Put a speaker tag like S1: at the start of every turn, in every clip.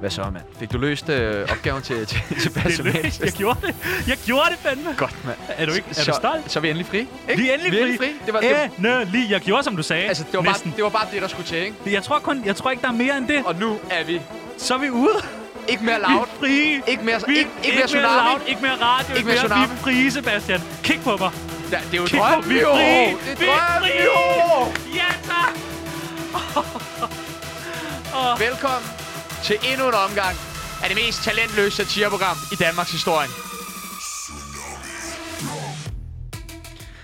S1: Hvad så, mand? Fik du løst øh, opgaven til, til, til Basse
S2: Det er løst. Jeg gjorde det. Jeg gjorde det fandme.
S1: Godt, mand.
S2: Er du ikke? Er
S1: så,
S2: du stolt?
S1: Så er vi endelig fri. Ikke?
S2: Vi er endelig
S1: vi er
S2: fri.
S1: endelig fri. Det var, det,
S2: Endelig. Jeg gjorde, som du sagde.
S1: altså, det, var
S2: Næsten.
S1: bare, det var bare det, der skulle til, ikke?
S2: Jeg tror, kun, jeg tror ikke, der er mere end det.
S1: Og nu er vi
S2: Så er vi ude.
S1: ikke mere
S2: Vi er
S1: loud.
S2: frie.
S1: Ikke mere-
S2: vi,
S1: ikke- ikke mere tsunami.
S2: loud, ikke mere radio, ikke,
S1: mere
S2: mere, vi er
S1: tsunami.
S2: frie, Sebastian. Kig på mig.
S1: Der, det er jo
S2: Kig på,
S1: drøm,
S2: vi er
S1: jo.
S2: frie.
S1: Det
S2: Vi
S1: er
S2: er
S1: drøm,
S2: frie.
S1: jo.
S2: Ja, tak.
S1: Velkommen til endnu en omgang af det mest talentløse satireprogram i Danmarks historie.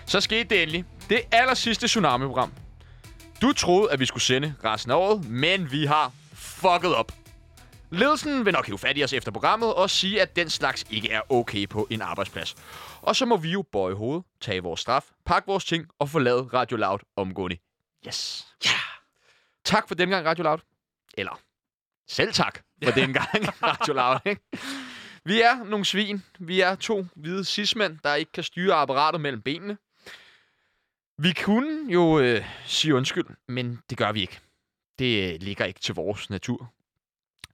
S1: Så skete det endelig. Det aller sidste Tsunami-program. Du troede, at vi skulle sende resten af året, men vi har fucket op. Ledelsen vil nok hive fat i os efter programmet og sige, at den slags ikke er okay på en arbejdsplads. Og så må vi jo bøje hovedet, tage vores straf, pakke vores ting og forlade Radio Loud omgående. Yes. Ja. Yeah. Tak for dengang, Radio Loud. Eller selv tak for den gang, Radio Loud. Ikke? Vi er nogle svin. Vi er to hvide cismænd, der ikke kan styre apparatet mellem benene. Vi kunne jo øh, sige undskyld, men det gør vi ikke. Det øh, ligger ikke til vores natur.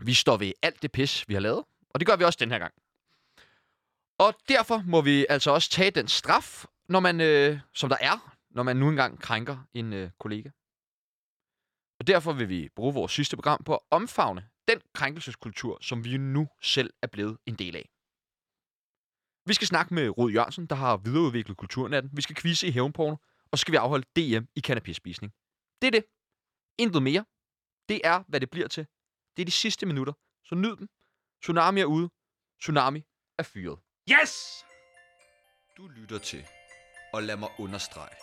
S1: Vi står ved alt det pis, vi har lavet, og det gør vi også den her gang. Og derfor må vi altså også tage den straf, når man, øh, som der er, når man nu engang krænker en øh, kollega. Og derfor vil vi bruge vores sidste program på at omfavne den krænkelseskultur, som vi nu selv er blevet en del af. Vi skal snakke med Rod Jørgensen, der har videreudviklet kulturnatten. Vi skal quizze i hævnporno, og så skal vi afholde DM i cannabisspisning. Det er det. Intet mere. Det er, hvad det bliver til. Det er de sidste minutter, så nyd dem. Tsunami er ude. Tsunami er fyret.
S2: Yes!
S3: Du lytter til, og lad mig understrege,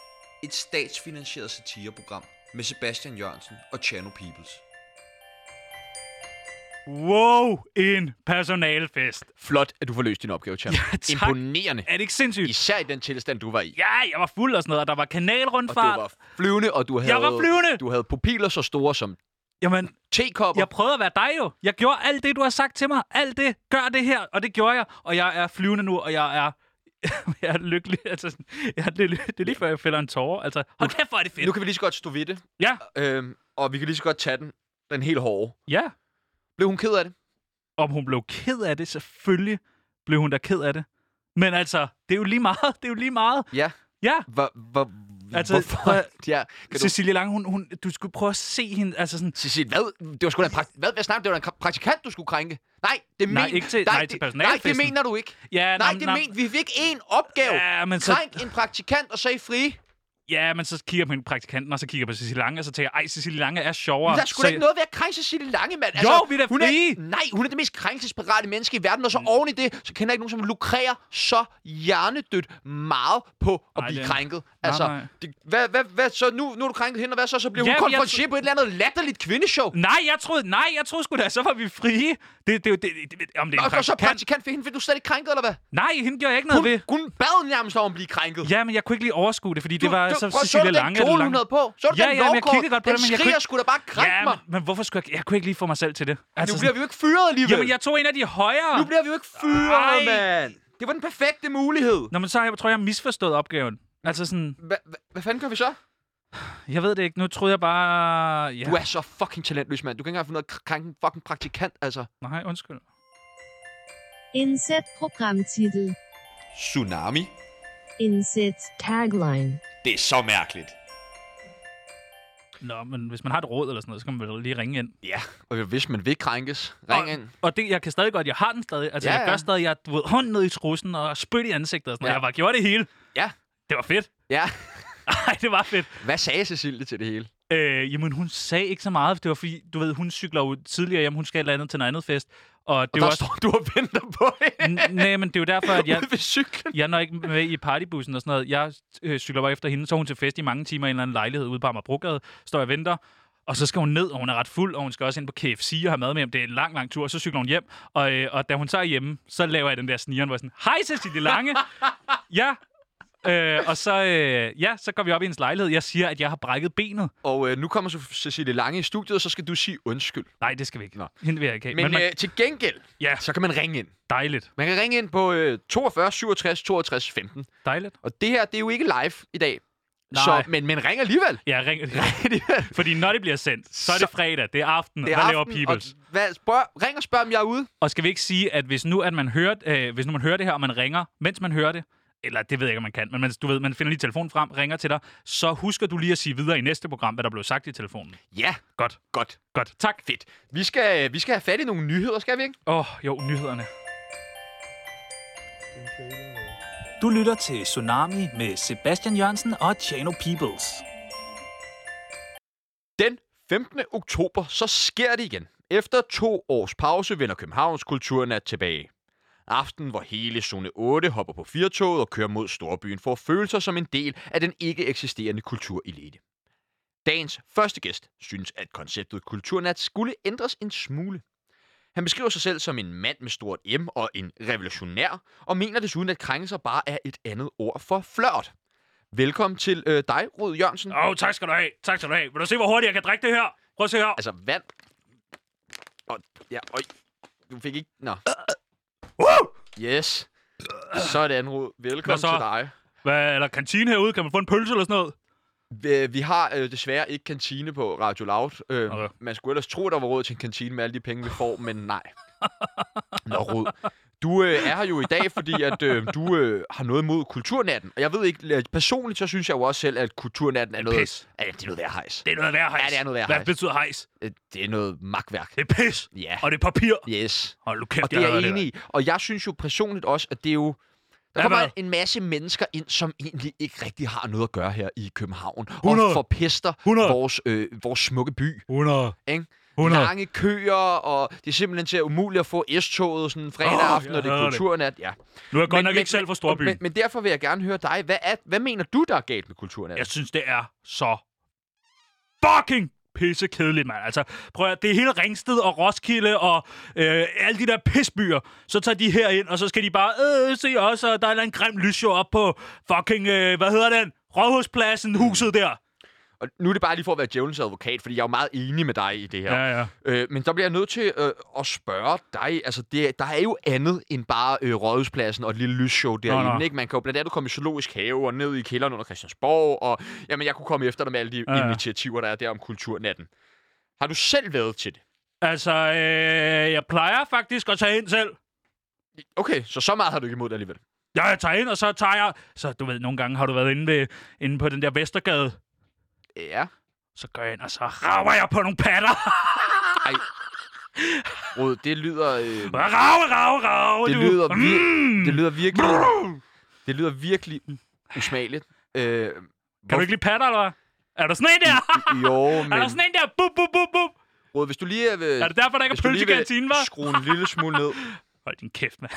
S3: et statsfinansieret satireprogram med Sebastian Jørgensen og Chano Peoples.
S2: Wow, en personalfest.
S1: Flot, at du får løst din opgave, Champ.
S2: Ja, tak.
S1: Imponerende.
S2: Er det ikke sindssygt?
S1: Især i den tilstand, du var i.
S2: Ja, jeg var fuld og sådan noget, og der var
S1: Og du
S2: kanalrundfart.
S1: var flyvende, og du havde,
S2: Jeg var flyvende!
S1: Du havde pupiller så store som
S2: Jamen,
S1: tekopper.
S2: jeg prøvede at være dig jo. Jeg gjorde alt det, du har sagt til mig. Alt det. Gør det her. Og det gjorde jeg. Og jeg er flyvende nu, og jeg er... jeg er lykkelig. Altså, sådan- jeg er, det, det er lige før, jeg fælder en tårer. Altså, hold kæft, hvor er det fedt.
S1: Nu kan vi lige så godt stå ved det,
S2: Ja,
S1: øhm, og vi kan lige så godt tage den, den helt hårde.
S2: ja.
S1: Blev hun ked af det?
S2: Om hun blev ked af det, selvfølgelig blev hun da ked af det. Men altså, det er jo lige meget. Det er jo lige meget.
S1: Ja.
S2: Ja.
S1: Hvor, hvor,
S2: Altså,
S1: hvorfor?
S2: prøv at-
S1: ja, kan du...
S2: Cecilie Lange, hun, hun, du skulle prøve at se hende. Altså sådan,
S1: Cecil, hvad? Det var sgu da en, prakt- hvad, hvad snakker, du? det var da en praktikant, du skulle krænke. Nej, det
S2: Nej,
S1: men...
S2: ikke til- nej,
S1: det-
S2: til
S1: Nej, det
S2: personalefesten.
S1: mener du ikke.
S2: ja,
S1: nej,
S2: nå,
S1: det
S2: nå,
S1: men... Vi fik én opgave.
S2: Ja, men så,
S1: Krænk en praktikant og sag frie.
S2: ja, men så kigger jeg på hende praktikanten, og så kigger jeg på Cecilie Lange, og så tænker jeg, ej, Cecilie Lange er
S1: Men
S2: sjovere.
S1: der er sgu da
S2: Så-
S1: ikke noget ved at krænke Cecilie Lange, mand.
S2: Jo, vi er da
S1: hun
S2: frie. Mm.
S1: Er, nej, hun er det mest krænkelsesparate menneske i verden, og så oven i det, så kender jeg ikke nogen, som lukrerer så hjernedødt meget på at
S2: Nej,
S1: blive
S2: det-
S1: krænket. Altså,
S2: nej.
S1: Det, hvad, hvad, hvad, så nu, nu er du krænket hende, og hvad så? Så bliver
S2: Ja,
S1: hun
S2: men jeg
S1: konfronteret på et eller andet latterligt kvindeshow.
S2: Nej, jeg troede, nej, jeg troede sgu da, så var vi frie. Det, det, det, det, det om det er
S1: Og,
S2: en
S1: og så
S2: praktikant.
S1: praktikant for hende, vil du slet ikke krænket, eller hvad?
S2: Nej, hende gjorde jeg ikke noget
S1: Hun,
S2: ved.
S1: hun bad nærmest om at blive krænket.
S2: Ja, men jeg kunne ikke lige overskue det, fordi
S1: Du-
S2: det var
S1: du-
S2: så
S1: prøv at-
S2: Cecilia
S1: du den
S2: Lange.
S1: kjole,
S2: eller
S1: hun
S2: Lange.
S1: havde på? Så du
S2: Ja,
S1: den
S2: ja, men jeg
S1: lovkort?
S2: kiggede godt på
S1: den
S2: det, men jeg kunne
S1: skriger
S2: ikke-
S1: sgu da bare krænke
S2: Ja,
S1: mig.
S2: men, men hvorfor skulle jeg... Jeg kunne ikke lige få mig selv til det. Altså,
S1: Nu
S2: sådan-
S1: bliver vi jo ikke fyret alligevel.
S2: Jamen, jeg tog en af de højere.
S1: Nu bliver vi jo ikke fyret,
S2: Ej.
S1: mand. Det var den perfekte mulighed.
S2: Nå, men så har jeg, tror jeg, jeg har misforstået opgaven. Altså sådan,
S1: Hva, hva, hvad fanden gør vi så?
S2: jeg ved det ikke. Nu troede jeg bare... Ja.
S1: Du er så fucking talentløs, mand. Du kan ikke engang finde ud af at krænke en fucking praktikant, altså.
S2: Nej, undskyld.
S4: Inset Programmtitel.
S3: Tsunami?
S4: Inset Tagline.
S3: Det er så mærkeligt.
S2: Nå, men hvis man har et råd eller sådan noget, så kan man vel lige ringe ind.
S1: Ja, og hvis man vil krænkes, ring
S2: og,
S1: ind.
S2: Og det, jeg kan stadig godt, jeg har den stadig. Altså,
S1: Ja,
S2: ja, jeg
S1: ja.
S2: gør stadig, jeg du ved, hånd ned i trussen og spyt i ansigtet og sådan
S1: Ja.
S2: ja. Jeg bare gjorde det hele.
S1: Ja.
S2: Det var fedt.
S1: Ja.
S2: Nej, det var fedt.
S1: Hvad sagde Cecilie til det hele?
S2: Øh, jamen, hun sagde ikke så meget, for det var fordi, du ved, hun cykler jo tidligere hjem, hun skal et eller andet til en anden fest. Og
S1: Og
S2: det
S1: der
S2: var
S1: også... står du og venter på hende
S2: Nej, men det er jo derfor, at jeg,
S1: ude ved cyklen.
S2: jeg når ikke med i partybussen og sådan noget. Jeg øh, cykler bare efter hende, så er hun til fest i mange timer i en eller anden lejlighed ude på Amagerbrogade. Står jeg og venter, og så skal hun ned, og hun er ret fuld, og hun skal også ind på KFC og have mad med hjem. Det er en lang, lang tur, og så cykler hun hjem. Og, øh, og da hun så er hjemme, så laver jeg den der snigeren, hvor jeg sådan, hej Cecilie Lange! ja, øh, og så, øh, ja, så går vi op i hendes lejlighed. Jeg siger, at jeg har brækket benet.
S1: Og øh, nu kommer så Cecilie Lange i studiet, og så skal du sige undskyld.
S2: Nej, det skal vi ikke.
S1: Nå.
S2: Hende vil jeg ikke have.
S1: Men,
S2: Men,
S1: Men
S2: man,
S1: øh, til gengæld,
S2: ja,
S1: så kan man ringe ind.
S2: dejligt.
S1: Man kan ringe ind på øh, 42 67 62 15.
S2: Dejligt.
S1: Og det her, det er jo ikke live i dag.
S2: Nej.
S1: Så, men, men ring alligevel.
S2: Ja, ring.
S1: Ring alligevel.
S2: Fordi når det bliver sendt, så er det
S1: Så-
S2: fredag, det er aften,
S1: Det er
S2: og hvad
S1: aften,
S2: laver Peoples?
S1: Og, hvad, spørg, ring og spørg, om jeg er ude.
S2: Og skal vi ikke sige, at hvis nu, at man, hører, øh, hvis nu man hører det her, og man ringer, mens man hører det, eller det ved jeg ikke, om man kan, men man, du ved, man finder lige telefonen frem, ringer til dig, så husker du lige at sige videre i næste program, hvad der blev sagt i telefonen.
S1: Ja,
S2: Godt.
S1: godt.
S2: Godt. Tak.
S1: Fedt. Vi skal, vi skal have fat i nogle nyheder, skal vi ikke?
S2: Åh, oh, jo, nyhederne.
S5: Du lytter til Tsunami med Sebastian Jørgensen og Chano Peoples.
S1: Den 15. oktober, så sker det igen. Efter to års pause vender Københavns kulturnat tilbage. Aften, hvor hele zone 8 hopper på firtoget og kører mod storbyen for at føle sig som en del af den ikke eksisterende kulturelite. Dagens første gæst synes, at konceptet kulturnat skulle ændres en smule. Han beskriver sig selv som en mand med stort M og en revolutionær, og mener desuden, at krænkelser bare er et andet ord for flørt. Velkommen til øh, dig, Rud Jørgensen.
S2: Åh, oh, tak skal du have. Tak skal du have. Vil du se, hvor hurtigt jeg kan drikke det her? Prøv at se her.
S1: Altså vand. Og, ja, øj. Du fik ikke... Nå. Yes. Sådan, Rud.
S2: Hvad
S1: Velkommen
S2: så?
S1: til dig.
S2: Hvad, eller kantine herude? Kan man få en pølse eller sådan noget?
S1: Vi- Vi har øh, desværre ikke kantine på Radio Loud. Øh,
S2: Okay.
S1: Man skulle ellers tro, der var råd til en kantine med alle de penge, vi får, men nej. Nå, Rud. Du øh, er her jo i dag, fordi at øh, du øh, har noget mod kulturnatten. Og jeg ved ikke, øh, personligt så synes jeg jo også selv, at kulturnatten er noget...
S2: pis.
S1: Ja, det er noget værd hejs.
S2: Det er noget værd hejs.
S1: Ja, det er noget værd
S2: Hvad
S1: hejs.
S2: betyder hejs?
S1: Det, det er noget magtværk.
S2: Det er pis.
S1: Ja.
S2: Og det er papir.
S1: Yes.
S2: Hold nu kæft,
S1: Og det er
S2: hader
S1: jeg enig i. Og jeg synes jo personligt også, at det er jo... Der
S2: Ja,
S1: kommer
S2: hvad?
S1: en masse mennesker ind, som egentlig ikke rigtig har noget at gøre her i København.
S2: 100.
S1: Og forpester
S2: 100.
S1: vores, øh, vores smukke by.
S2: 100.
S1: Ikke?
S2: 100.
S1: Lange køer, og det er simpelthen til at umuligt at få S-toget sådan en fredag
S2: Åh,
S1: aften,
S2: jeg
S1: når det
S2: hader
S1: er
S2: det.
S1: kulturnat. Ja.
S2: Nu er jeg godt nok ikke selv fra Storbyen.
S1: Men, men derfor vil jeg gerne høre dig. Hvad, er, hvad mener du, der er galt med kulturnat?
S2: Jeg synes, det er så fucking pisse kedeligt, mand. Altså, prøv at, høre, det er hele Ringsted og Roskilde og øh, alle de der pisbyer. Så tager de her ind, og så skal de bare, øh, se også, og der er en eller anden grim lysshow op på fucking, øh, hvad hedder den? Rådhuspladsen, huset der.
S1: Og nu er det bare lige for at være djævelens advokat, fordi jeg er jo meget enig med dig i det her.
S2: ja.
S1: Øh, men der bliver jeg nødt til øh, at spørge dig. Altså, det, der er jo andet end bare øh, Rådhuspladsen og et lille lysshow derinde.
S2: nå.
S1: Ikke? Man kan jo blandt andet komme i Zoologisk Have og ned i kælderen under Christiansborg. Og jamen, jeg kunne komme efter dig med alle de
S2: Ja,
S1: ja,
S2: ja.
S1: initiativer, der er der om kulturnatten. Har du selv været til det?
S2: Altså, øh, jeg plejer faktisk at tage ind selv.
S1: Okay, så så meget har du ikke imod det alligevel.
S2: Ja, jeg tager ind, og så tager jeg... Så du ved, nogle gange har du været inde, ved, inde på den der Vestergade.
S1: Ja.
S2: Så går jeg ind, og så rager jeg på nogle patter.
S1: Ej. Rod, det lyder... Øh,
S2: Rave, rave, rave,
S1: det,
S2: du.
S1: lyder vir-
S2: Mm.
S1: det lyder virkelig... Det lyder virkelig usmageligt. Øh,
S2: Kan du ikke lide patter, eller hvad? Er der sådan en der?
S1: Jo,
S2: er der
S1: Mm, men...
S2: sådan en der? Bup, bup, bup, bup.
S1: Rod, hvis du lige... Øh,
S2: Er det derfor, der ikke
S1: Hvis du
S2: er pølse i
S1: lige vil
S2: kantinen, hva'?
S1: skrue en lille smule ned.
S2: Hold din kæft, mand.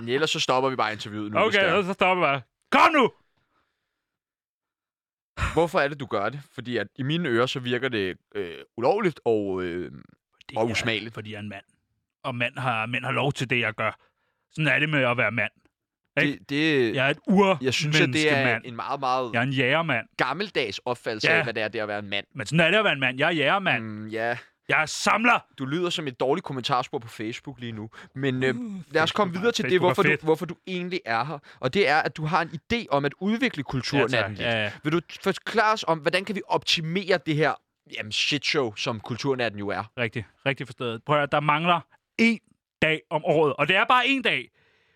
S1: Men Ellers så stopper vi bare interviewet nu. hvis
S2: Okay,
S1: det er.
S2: så stopper jeg. Kom nu!
S1: Hvorfor er det, du gør det? Fordi at i mine ører, så virker det øh, ulovligt og... Øh,
S2: Fordi
S1: Og
S2: jeg-
S1: usmageligt.
S2: Fordi jeg er en mand. Og mand har, mænd har lov til det, jeg gør. Sådan er det med at være mand. Ikke?
S1: det, det,
S2: Jeg er et ur
S1: jeg synes, at det er
S2: mand.
S1: en meget, meget
S2: Jeg er en jægermand.
S1: gammeldags opfattelse
S2: Ja.
S1: af, hvad det er, det er at være en mand.
S2: Men sådan er det at være en mand. Jeg er jægermand. Mm.
S1: Mm, ja,
S2: Jeg er samler.
S1: du lyder som et dårligt kommentarspor på Facebook lige nu. Men øh, lad os
S2: Facebook
S1: komme
S2: er-
S1: videre til det,
S2: Facebook er
S1: hvorfor du,
S2: fedt.
S1: hvorfor du egentlig er her. Og det er, at du har en idé om at udvikle kulturnatten lidt.
S2: Ja, ja.
S1: Vil du forklare os om, hvordan kan vi optimere det her jamen, shitshow, som kulturnatten jo er?
S2: Rigtig, rigtig forstået. Prøv at høre, der mangler én dag om året, og det er bare én dag,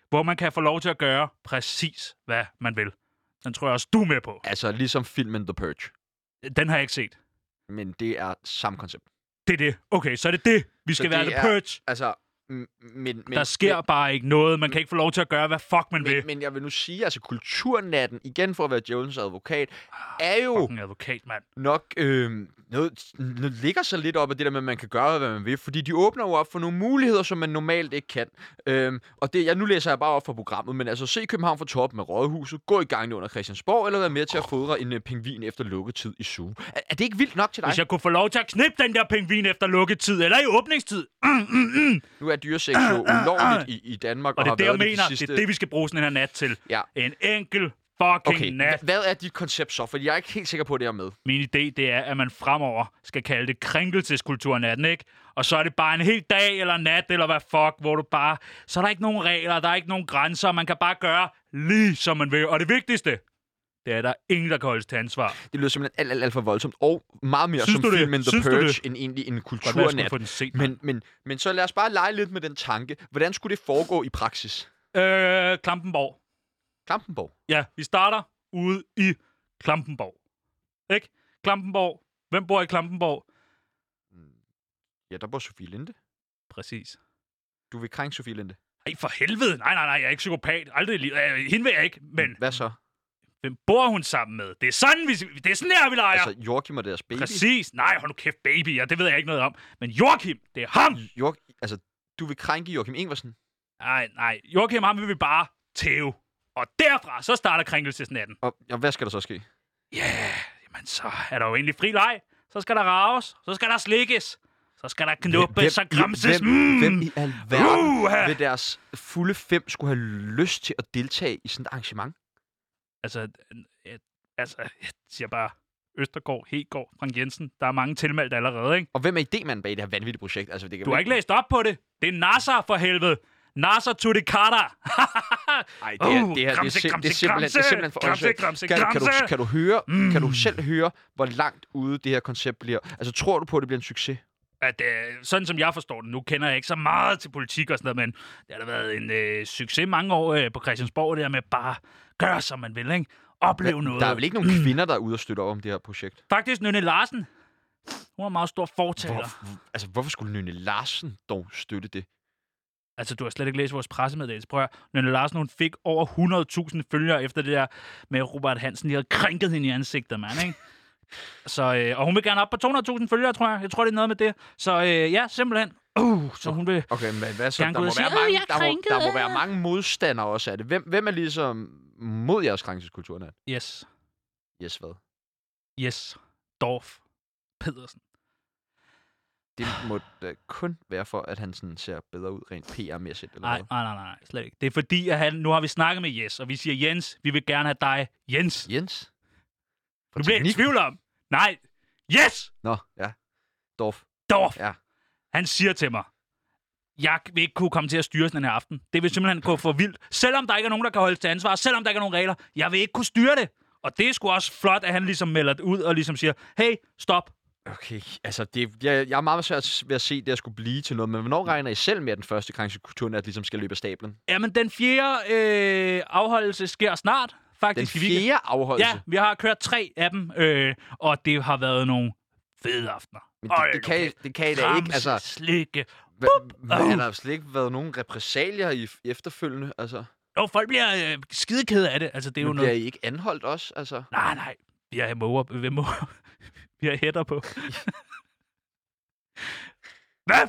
S2: hvor man kan få lov til at gøre præcis, hvad man vil. Den tror jeg også, du er med på.
S1: Altså ligesom filmen The Purge.
S2: Den har jeg ikke set.
S1: Men det er samme koncept.
S2: Det er det. Okay, så er det det. Vi skal
S1: det
S2: være The
S1: er-
S2: Purge.
S1: Altså, m- men, men,
S2: Der sker bare ikke noget. Man kan ikke få lov til at gøre, hvad fuck man
S1: men,
S2: vil.
S1: men, men jeg vil nu sige, altså kulturnatten, igen for at være djævelens advokat, er jo
S2: Ah, Fucking advokat, mand.
S1: nok øh, noget, noget, ligger sig lidt op af det der med, at man kan gøre, hvad man vil. Fordi de åbner jo op for nogle muligheder, som man normalt ikke kan. Øhm, og det, jeg, nu læser jeg bare op fra programmet, men altså se København fra toppen med Rådhuset, gå i gang under Christiansborg, eller være med til at fodre en øh, pingvin efter lukketid i suge. Er, er, det ikke vildt nok til dig?
S2: Hvis jeg kunne få lov til at knippe den der pingvin efter lukketid, eller i åbningstid. Mm, mm, mm.
S1: Nu er dyresex jo ulovligt i, i Danmark, og,
S2: Og det er
S1: har
S2: det, jeg
S1: været det,
S2: mener.
S1: de sidste...
S2: Det er det, vi skal bruge sådan en her nat til.
S1: Ja.
S2: En enkel fucking
S1: Okay,
S2: nat.
S1: hva- hvad er dit koncept så? Fordi jeg er ikke helt sikker på, at det er med.
S2: Min idé, det er, at man fremover skal kalde det krænkelseskulturnatten, ikke? Og så er det bare en hel dag eller nat, eller hvad fuck, hvor du bare... Så er der ikke nogen regler, der er ikke nogen grænser, man kan bare gøre lige som man vil. Og det vigtigste, Det er der ingen, der kan holdes til ansvar.
S1: Det lyder simpelthen alt, alt, alt for voldsomt, og meget mere
S2: Synes
S1: som
S2: du det?
S1: filmen The
S2: Synes du
S1: Purge,
S2: det?
S1: end egentlig en
S2: Godt være, jeg skulle
S1: kulturnat.
S2: få den set. Men...
S1: Men, men, men så lad os bare lege lidt med den tanke. Hvordan skulle det foregå i praksis?
S2: Øh, Klampenborg.
S1: Klampenborg.
S2: Ja, vi starter ude i Klampenborg. Ikke? Klampenborg. Hvem bor i Klampenborg?
S1: Ja, der bor Sofie Linde.
S2: Præcis.
S1: Du vil krænke Sofie Linde.
S2: Ej, for helvede. Nej, nej, nej, jeg er ikke psykopat. Aldrig i livet. Øh, Hende vil jeg ikke, men
S1: Hvad så?
S2: hvem bor hun sammen med? Det er sådan, vi, det er sådan her, vi leger.
S1: Altså, Joachim og deres baby.
S2: Præcis. Nej, hold nu kæft, baby. Ja, det ved jeg ikke noget om. Men Joachim, det er ham.
S1: Joach... Altså, du vil krænke Joachim Ingvarsen.
S2: Nej, nej. Joachim, ham vil vi bare tæve. Og derfra, så starter krænkelsesnatten.
S1: Og, og hvad skal der så ske?
S2: Ja, yeah. jamen så er der jo egentlig fri leg. Så skal der raves, så skal der slikkes, så skal der knuppes og Mm. gramses.
S1: Hvem, hvem i alverden
S2: Uha!
S1: ved deres fulde fem skulle have lyst til at deltage i sådan et arrangement?
S2: Altså, øh, øh, altså, jeg siger bare, Østergaard, Hegård, Frank Jensen, der er mange tilmeldt allerede, ikke?
S1: Og hvem er idémanden bag det her vanvittige projekt? Altså, det kan
S2: Du har
S1: vel-
S2: ikke læst op på det. Det er Nasser for helvede. Nasser Uh, to the cutter.
S1: Ej, det, her, det, her, det, er, sim- det, er simpelthen, det er simpelthen for
S2: gramse,
S1: åndssvagt.
S2: gramse,
S1: Kan, kan, du,
S2: gramse.
S1: kan, du høre, mm. kan du
S2: Mm.
S1: selv høre, hvor langt ude det her koncept bliver? Altså, tror du på, at det bliver en succes?
S2: at øh, sådan som jeg forstår det, nu kender jeg ikke så meget til politik og sådan noget, men det har da været en øh, succes mange år øh, på Christiansborg, det der med bare gøre, som man vil, ikke? Opleve noget. Mm.
S1: Der er vel ikke nogen kvinder, der er ude og støtte op om det her projekt?
S2: Faktisk Nynne Larsen, hun er en meget stor fortaler.
S1: Hvor,
S2: Hvor?
S1: hvor- altså, hvorfor skulle Nynne Larsen dog støtte det?
S2: Altså, du har slet ikke læst vores pressemeddelelse. Prøv at høre. Nynne Larsen, hun fik over 100.000 følgere efter det der med Robert Hansen, lige havde krænket hende i ansigtet, mand, ikke? Så, øh, og hun vil gerne op på 200.000 følgere, tror jeg. Jeg tror, det er noget med det. Så øh, ja, simpelthen. Uh, så hun vil...
S1: Okay, men hvad så?
S2: Gerne
S1: Der
S2: gå
S1: må,
S2: ud og sige,
S1: være
S2: "Øh,
S1: mange,
S2: jeg er
S1: der, må,
S2: krænket,
S1: der må
S2: øh."
S1: være mange modstandere også af det. Hvem, hvem er ligesom mod jeres krænkelseskultur, Nat?
S2: Yes.
S1: Yes, hvad?
S2: Yes. Dorf. Pedersen.
S1: Det må da kun være for, at han sådan ser bedre ud rent PR-mæssigt. Eller
S2: Nej,
S1: hvad?
S2: nej, nej, nej, nej, slet ikke. Det er fordi, at han, nu har vi snakket med Jes, og vi siger, Jens, vi vil gerne have dig, Jens.
S1: Jens? Fra
S2: Du bliver jeg i
S1: teknikken?
S2: tvivl om. Nej, Yes!
S1: Nå, ja. Dorf.
S2: Dorf.
S1: Ja.
S2: Han siger til mig, jeg vil ikke kunne komme til at styre sådan en her aften. Det vil simpelthen gå for vildt. Selvom der ikke er nogen, der kan holde til ansvar, selvom der ikke er nogen regler, jeg vil ikke kunne styre det. Og det er sgu også flot, at han ligesom melder det ud og ligesom siger, hey, stop.
S1: Okay, altså, det, jeg, jeg er meget svært ved at se, at det her skulle blive til noget, men hvornår regner I selv med, at den første krænkelseskulturnat ligesom skal løbe af stablen?
S2: Jamen, den fjerde øh, afholdelse sker snart,
S1: Den
S2: faktisk. i weekenden.
S1: fjerde afholdelse?
S2: Ja, vi har kørt tre af dem, øh, og det har været nogle fede aftener.
S1: Men det, det, kan, det kan I da ikke. Altså,
S2: slikke.
S1: hva, hva, har der slet ikke været nogen repressalier i f- efterfølgende? Altså,
S2: Og folk bliver øh, skidekede af det. Altså, det er jo
S1: men bliver
S2: noget...
S1: I ikke anholdt også? Altså?
S2: Nej, nej. Vi har måger, vi har måger. Vi har hætter på. Hvad?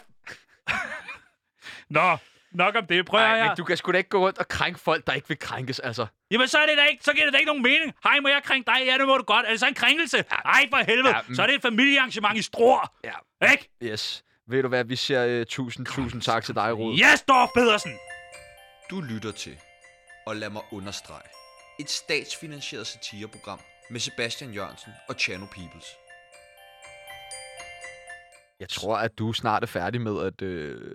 S2: Nå, nok om det. Prøv at
S1: Nej,
S2: høre.
S1: men du kan sgu da ikke gå rundt og krænke folk, der ikke vil krænkes, altså.
S2: Jamen, så, er det da ikke, så giver det da ikke nogen mening. Hej, må jeg krænke dig? Ja, det må du godt. Er det så en krænkelse? Nej, for helvede.
S1: Ja, mm. men-
S2: Så er det et familiearrangement i Struer.
S1: Ja.
S2: Ikke?
S1: Yes. Ved du hvad, vi siger øh, tusind, tusind tak til dig, Rod.
S2: Yes, Dorf Pedersen.
S3: Du lytter til, og lad mig understrege, et statsfinansieret satireprogram med Sebastian Jørgensen og Chano Peoples.
S1: Jeg tror, at du snart er færdig med at... Øh...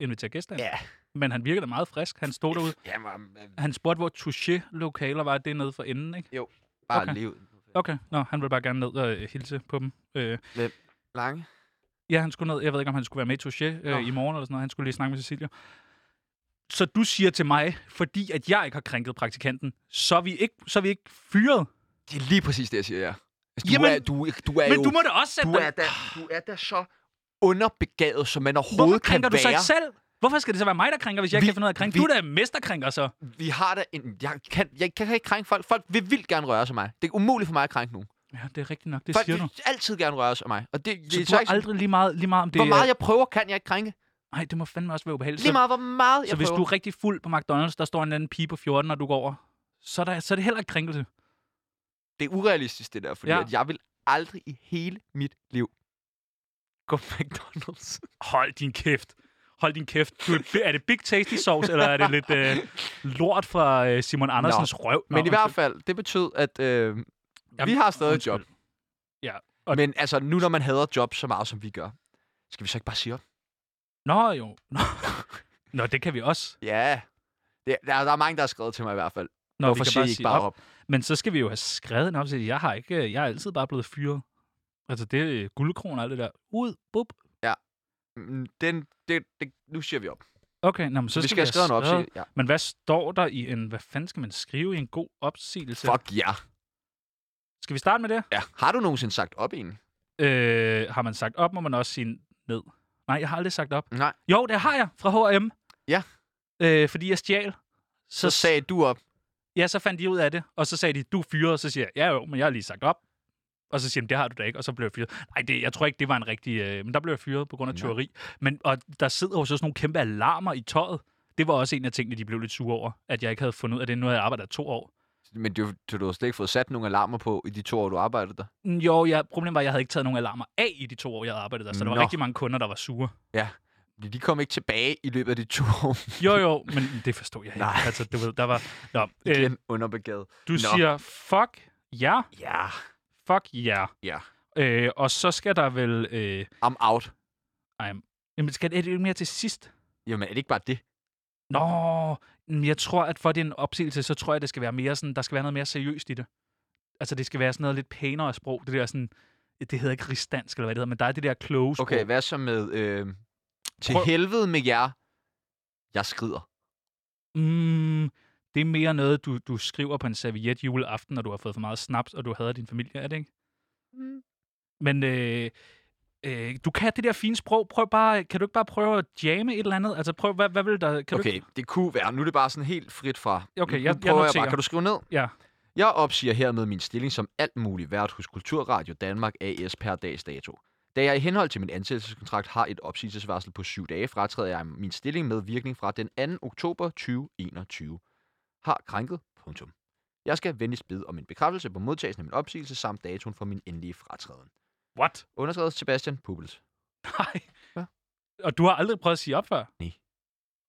S2: invitere gæster ind.
S1: Ja.
S2: Men han virkede da meget frisk. Han stod derude.
S1: Jamen, øh,
S2: Han spurgte, hvor touché-lokaler var. Det er nede for enden, ikke?
S1: bare
S2: Okay.
S1: okay. leve.
S2: Okay, nå, han ville bare gerne ned og øh, hilse på dem. Øh,
S1: Lange.
S2: ja, han skulle ned. Jeg ved ikke, om han skulle være med i touché
S1: Nå.
S2: øh, i morgen eller sådan noget. Han skulle lige snakke med Cecilia. Så du siger til mig, fordi at jeg ikke har krænket praktikanten, så er vi ikke, så er vi ikke fyret.
S1: Det er lige præcis det, jeg siger, ja. Altså, du,
S2: Jamen,
S1: er, du, du er
S2: Men
S1: jo,
S2: du må da også sætte
S1: du, er
S2: dig.
S1: da, du er da så underbegavet, som man
S2: Hvorfor
S1: overhovedet kan
S2: krænker du
S1: være.
S2: så ikke selv? Hvorfor skal det så være mig, der krænker, hvis jeg
S1: Vi-
S2: ikke kan finde ud af at krænke?
S1: vi-
S2: Du er da mesterkrænker, så.
S1: Vi har da en... Jeg kan, jeg kan ikke krænke folk. Folk vil vildt gerne røre sig af mig. Det er umuligt for mig at krænke nogen.
S2: Ja, det er rigtigt nok. Det
S1: folk
S2: siger du.
S1: vil altid gerne røre sig af mig. Og det, det
S2: Så
S1: er
S2: du har
S1: ikke sådan-
S2: aldrig lige meget, lige meget om det...
S1: Hvor meget jeg prøver, kan jeg ikke krænke.
S2: Nej, det må fandme også være ubehageligt.
S1: Lige
S2: Så-
S1: meget, hvor meget jeg
S2: Så hvis
S1: prøver.
S2: du er rigtig fuld på McDonald's, der står en eller anden pige på 14, og du går over, så er, der, så er det heller ikke krænkelse.
S1: Det er urealistisk, det der, fordi
S2: Ja.
S1: ja. at jeg vil aldrig i hele mit liv gå på McDonald's.
S2: Hold din kæft. Hold din kæft. Du, er- er det Big Tasty Sauce, eller er det lidt øh, lort fra øh, Simon Andersens Nå. røv? Nå,
S1: Men i
S2: undskyld.
S1: hvert fald, det betød, at øh, vi
S2: Jamen,
S1: har stadig et
S2: undskyld.
S1: job.
S2: Og-
S1: Men altså, nu når man hader job så meget, som vi gør, skal vi så ikke bare sige op?
S2: Nå jo. Nå. Nå, det kan vi også.
S1: Ja. Det, der, der er mange, der har skrevet til mig i hvert fald.
S2: Nå,
S1: Hvorfor
S2: vi kan
S1: siger I
S2: bare
S1: ikke
S2: sige
S1: bare
S2: op.
S1: op?
S2: Men så skal vi jo have skrevet en opsæt. Jeg har ikke, øh, jeg er altid bare blevet fyret. Altså det er guldkron og alt det der. Ud, bup.
S1: Mm, Den, det, det, nu siger vi op.
S2: Okay, nå, men så
S1: vi
S2: skal,
S1: skal have skrevet en opsigt. Ja.
S2: Men hvad står der i en, hvad fanden skal man skrive i en god opsigelse?
S1: Fuck ja.
S2: Skal vi starte med det?
S1: ja. Har du nogensinde sagt op egentlig?
S2: Øh, har man sagt op, må man også sige ned. Nej, jeg har aldrig sagt op.
S1: Nej.
S2: Jo, det har jeg fra H&M.
S1: Ja.
S2: Øh, fordi jeg stjal.
S1: Så sagde du op.
S2: Ja, så fandt de ud af det, og så sagde de, du er fyret, og så siger jeg, ja jo, men jeg har lige sagt op. Og så siger de, det har du da ikke, og så blev jeg fyret. Nej, det, jeg tror ikke, det var en rigtig... Øh, men der blev jeg fyret på grund af
S1: Nå.
S2: tyveri. Men, og der sidder jo så sådan nogle kæmpe alarmer i tøjet. Det var også en af tingene, de blev lidt sure over, at jeg ikke havde fundet ud af det. Nu havde jeg arbejdet der to år.
S1: Men du, du, du har slet ikke fået sat nogen alarmer på i de to år, du arbejdede der.
S2: Mm, Jo, jeg, problemet var, at jeg havde ikke taget nogen alarmer af i de to år, jeg havde arbejdet der. Så der var
S1: Nå.
S2: rigtig mange kunder, der var sure.
S1: Fordi De kom ikke tilbage i løbet af de to år.
S2: Jo, jo, men det forstod jeg ikke.
S1: Nej.
S2: Altså, du ved, der var... Nå, øh,
S1: Igen underbegavet.
S2: du siger, fuck ja,
S1: Ja.
S2: fuck ja.
S1: Ja.
S2: Øh, og så skal der vel... Øh,
S1: I'm out.
S2: I'm... Jamen, skal det ikke mere til sidst?
S1: Jamen, er det ikke bare det?
S2: Nå, mm, jeg tror, at for din opsigelse, så tror jeg, det skal være mere sådan, der skal være noget mere seriøst i det. Altså, det skal være sådan noget lidt pænere sprog. Det der sådan, det hedder ikke rigsdansk, eller hvad det hedder, men der er det der kloge sprog.
S1: Okay, hvad så med... Øh, til
S2: Prøv-
S1: helvede med jer. Jeg skrider.
S2: Mm, det er mere noget, du, du skriver på en serviet juleaften, når du har fået for meget snaps, og du hader din familie, er det ikke?
S1: Mm.
S2: Men øh, øh, du kan det der fine sprog. Prøv bare, kan du ikke bare prøve at jamme et eller andet? Altså, prøv, hvad, hvad vil der... Kan
S1: Okay,
S2: Du,
S1: det kunne være. Nu er det bare sådan helt frit fra.
S2: Okay,
S1: Nu
S2: jeg- jeg
S1: prøver jeg
S2: noterer.
S1: bare. Kan du skrive ned?
S2: ja.
S1: Jeg opsiger hermed min stilling som alt muligt vært hos Kulturradio Danmark AS per dags dato. Da jeg i henhold til min ansættelseskontrakt har et opsigelsesvarsel på syv dage, fratræder jeg min stilling med virkning fra den 2. oktober 2021. Har krænket. Punktum. Jeg skal venligst bede om en bekræftelse på modtagelsen af min opsigelse samt datoen for min endelige fratræden.
S2: What?
S1: Underskrevet Sebastian Pubels.
S2: Nej.
S1: Hvad?
S2: Og du har aldrig prøvet at sige op før?
S1: Nej.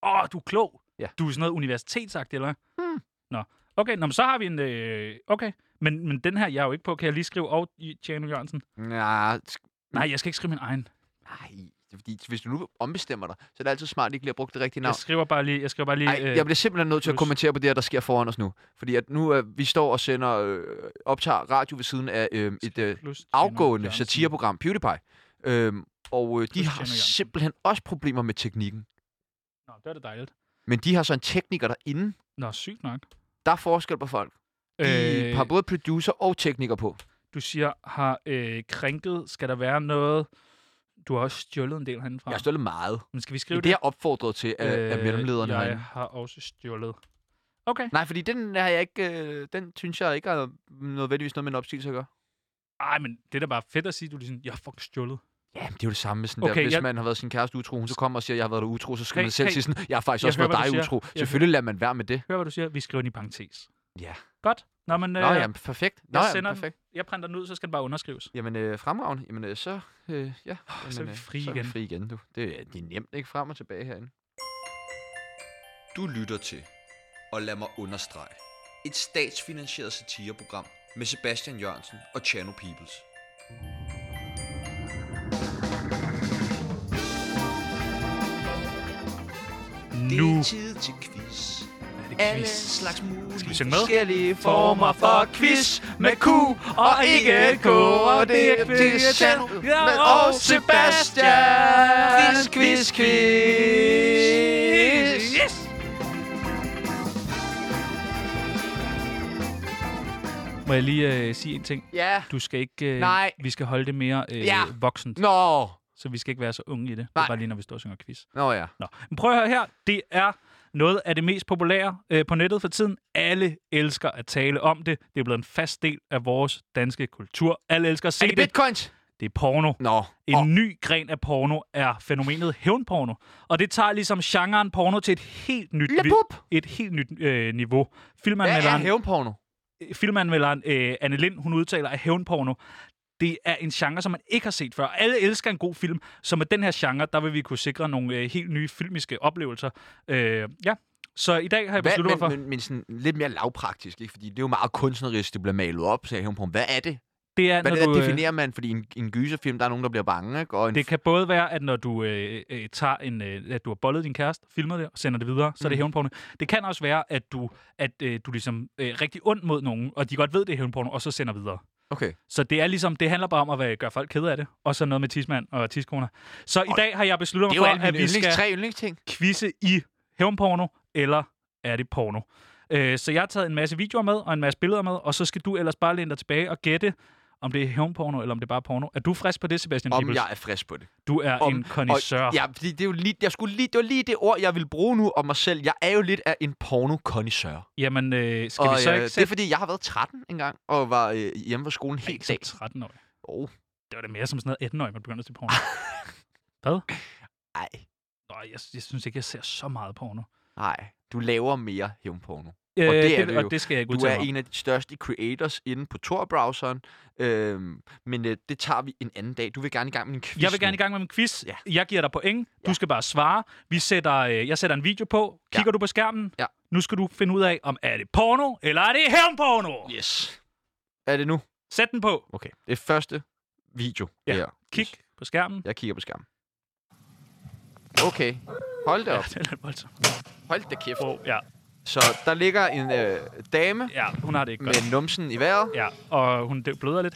S2: Åh, du er klog.
S1: Ja.
S2: Du er sådan noget universitetsagtig, eller hvad?
S1: Hmm.
S2: Nå. Okay, nå, men så har vi en... Øh, okay. Men, men den her, jeg er jo ikke på. Kan jeg lige skrive og Tjerno Jørgensen?
S1: Nej, Hmm.
S2: Nej, jeg skal ikke skrive min egen.
S1: nej. Det er fordi, hvis du nu ombestemmer dig, så er det altid smart, at det ikke lige har brugt det rigtige navn.
S2: Jeg skriver bare lige... Jeg skriver bare lige øh,
S1: Ej, jeg bliver simpelthen nødt til at
S2: plus.
S1: kommentere på det her, der sker foran os nu. Fordi at nu, øh, vi står og sender, øh, optager radio ved siden af øh, et øh,
S2: plus Tjerno
S1: afgående
S2: Jørgensen.
S1: satireprogram, PewDiePie. Øhm, og øh, de
S2: Plus
S1: har
S2: Tjerno Jørgensen.
S1: simpelthen også problemer med teknikken.
S2: Nå, det er det dejligt.
S1: Men de har så en tekniker derinde.
S2: Nå, sygt nok.
S1: Der er forskel på folk. De øh... har både producer og tekniker på.
S2: du siger, har øh, krænket, skal der være noget... Du har også stjålet en del herindefra.
S1: Jeg har stået meget.
S2: Men skal vi
S1: Det
S2: skrive
S1: er det, jeg opfordret til af, øh, af mellemlederne
S2: Jeg
S1: herinde.
S2: har også stjålet. Okay.
S1: Nej, fordi den har jeg ikke, øh, den synes jeg ikke har nødvendigvis noget med en opsigelse at gøre.
S2: Ej, men det er da bare fedt at sige, du er sådan, jeg har fucking stjålet.
S1: Ja, det er jo det samme med sådan okay,
S2: Okay,
S1: der, hvis
S2: jeg-
S1: jeg... man har været sin kæreste utro, hun så kommer og siger, jeg har været dig utro, så skal
S2: Hey,
S1: hey, man selv
S2: hey.
S1: hey. sige sådan, jeg har faktisk
S2: Jeg
S1: jeg også
S2: hører,
S1: været
S2: hvad du
S1: dig
S2: siger.
S1: utro.
S2: Jeg
S1: Selvfølgelig lader man være med det.
S2: Hør, hvad du siger. Vi skriver den i parentes.
S1: Ja.
S2: Godt. Nå, men øh,
S1: Nå ja, perfekt. Nå
S2: jeg
S1: ja,
S2: sender den.
S1: perfekt.
S2: jeg printer den ud, så skal den bare underskrives.
S1: Jamen øh, fremragende, jamen øh, så, øh, ja. Jamen,
S2: så er vi
S1: øh,
S2: fri
S1: så
S2: igen.
S1: fri igen, du. Det, er- det er nemt, ikke? Frem og tilbage herinde.
S3: Du lytter til, og lad mig understrege, et statsfinansieret satireprogram med Sebastian Jørgensen og Chano Peoples.
S2: Nu
S3: Det er tid til quiz.
S2: er det
S3: Alle
S2: quiz.
S3: slags mulige
S2: Skal vi synge med?
S1: Forskellige
S2: former for quiz med Q og ikke K, og det er Christian og Sebastian.
S1: Quiz, quiz, quiz.
S2: Yes! Må jeg lige øh, sige en ting?
S1: Ja.
S2: Du skal ikke... Øh,
S1: Nej.
S2: Vi skal holde det mere øh, ja.
S1: Ja.
S2: voksent, Nå.
S1: Nå.
S2: så vi skal ikke være så unge i det. Nej. Det er
S1: Nej.
S2: bare lige, når vi står og synger quiz.
S1: Nå ja.
S2: Nå. Men prøv at høre her. Det er noget af det mest populære øh, på nettet for tiden. Alle elsker at tale om det. Det er blevet en fast del af vores danske kultur. Alle elsker at se
S1: Er det
S2: det. Det,
S1: bitcoins?
S2: det er porno.
S1: Nå.
S2: En oh. ny gren af porno er fænomenet hævnporno. Og det tager ligesom genren porno til et helt nyt, vi-
S1: Lepup.
S2: et helt nyt øh, niveau.
S1: Hvad er
S2: Filmanmelderen,
S1: hævnporno?
S2: filmanmelderen øh, Anne Lind, hun udtaler, at hævnporno, det er en genre, som man ikke har set før. Alle elsker en god film, så med den her genre, der vil vi kunne sikre nogle øh, helt nye filmiske oplevelser. Øh, ja, så i dag har jeg besluttet
S1: Hvad,
S2: mig for,
S1: men, men, men sådan lidt mere lavpraktisk, ikke? Fordi det er jo meget kunstnerisk, det bliver malet op, så jeg på, hvad er det?
S2: det er,
S1: Hvad
S2: når
S1: det der
S2: du... øh,
S1: definerer man? Fordi i en, i en gyserfilm, der er nogen, der bliver bange, ikke? Og en
S2: Det kan både være, at når du øh, øh, tager en, øh, at du har bollet din kæreste, filmer det og sender det videre, så er det
S1: Mm.
S2: hævnporno. Det kan også være, at du, at, øh, du ligesom øh, er rigtig ond mod nogen, og de godt ved, det er hævnporno, og så sender videre.
S1: Okay.
S2: Så det er ligesom, det handler bare om at være- gøre folk kede af det, og så noget med tismand og tiskoner. Så i dag har jeg besluttet
S1: Det er
S2: mig
S1: jo
S2: for,
S1: alle
S2: at
S1: mine
S2: vi
S1: yndlings,
S2: skal
S1: tre yndlingsting.
S2: quizze i hævnporno, eller er det porno? Øh, så jeg har taget en masse videoer med, og en masse billeder med, og så skal du ellers bare læne dig tilbage og gætte, om det er hævnporno, eller om det bare er porno. Er du frisk på det, Sebastian
S1: Om
S2: Peebles?
S1: jeg er frisk på det.
S2: Du er
S1: Om,
S2: en connoisseur.
S1: Og, ja, fordi det, er jo lige, jeg skulle lige, det var lige det ord, jeg ville bruge nu om mig selv. Jeg er jo lidt af en porno -connoisseur.
S2: Jamen, øh, skal
S1: Og
S2: vi så
S1: øh,
S2: ikke
S1: det er
S2: sætte
S1: fordi, jeg har været 13 engang, og var øh, hjemme fra skolen
S2: Ej, ikke
S1: helt
S2: som
S1: dag.
S2: 13 år?
S1: Oh,
S2: Det var da mere som sådan noget 18 år, man begynder at se porno.
S1: Ah.
S2: Hvad?
S1: nej,
S2: Nå, jeg, jeg synes ikke, jeg ser så meget porno.
S1: nej. Du laver mere hævnporno.
S2: Øh,
S1: det er
S2: det,
S1: det jo.
S2: og det skal jeg ikke
S1: Du
S2: udtale
S1: er
S2: mig om.
S1: en af de største creators inde på Tor-browseren. Øhm, men øh, det tager vi en anden dag. Du vil gerne i gang med en quiz
S2: Jeg vil gerne
S1: nu.
S2: i gang med en quiz.
S1: Ja.
S2: Jeg giver dig point. Du
S1: Ja.
S2: skal bare svare. Vi sætter, øh, jeg sætter en video på.
S1: Ja.
S2: Kigger du på skærmen?
S1: Ja.
S2: Nu skal du finde ud af, om er det porno, eller er det hævnporno?
S1: Yes. Er det nu?
S2: Sæt den på.
S1: Okay. Det er første video.
S2: Ja.
S1: det her.
S2: Kig på skærmen.
S1: Jeg kigger på skærmen. Okay. Hold da
S2: Ja,
S1: op.
S2: det er lidt voldsomt.
S1: Hold da kæft.
S2: Wow, ja.
S1: Så der ligger en øh, dame
S2: ja, hun har det ikke godt.
S1: med numsen i vejret.
S2: Ja, og hun dø- bløder lidt.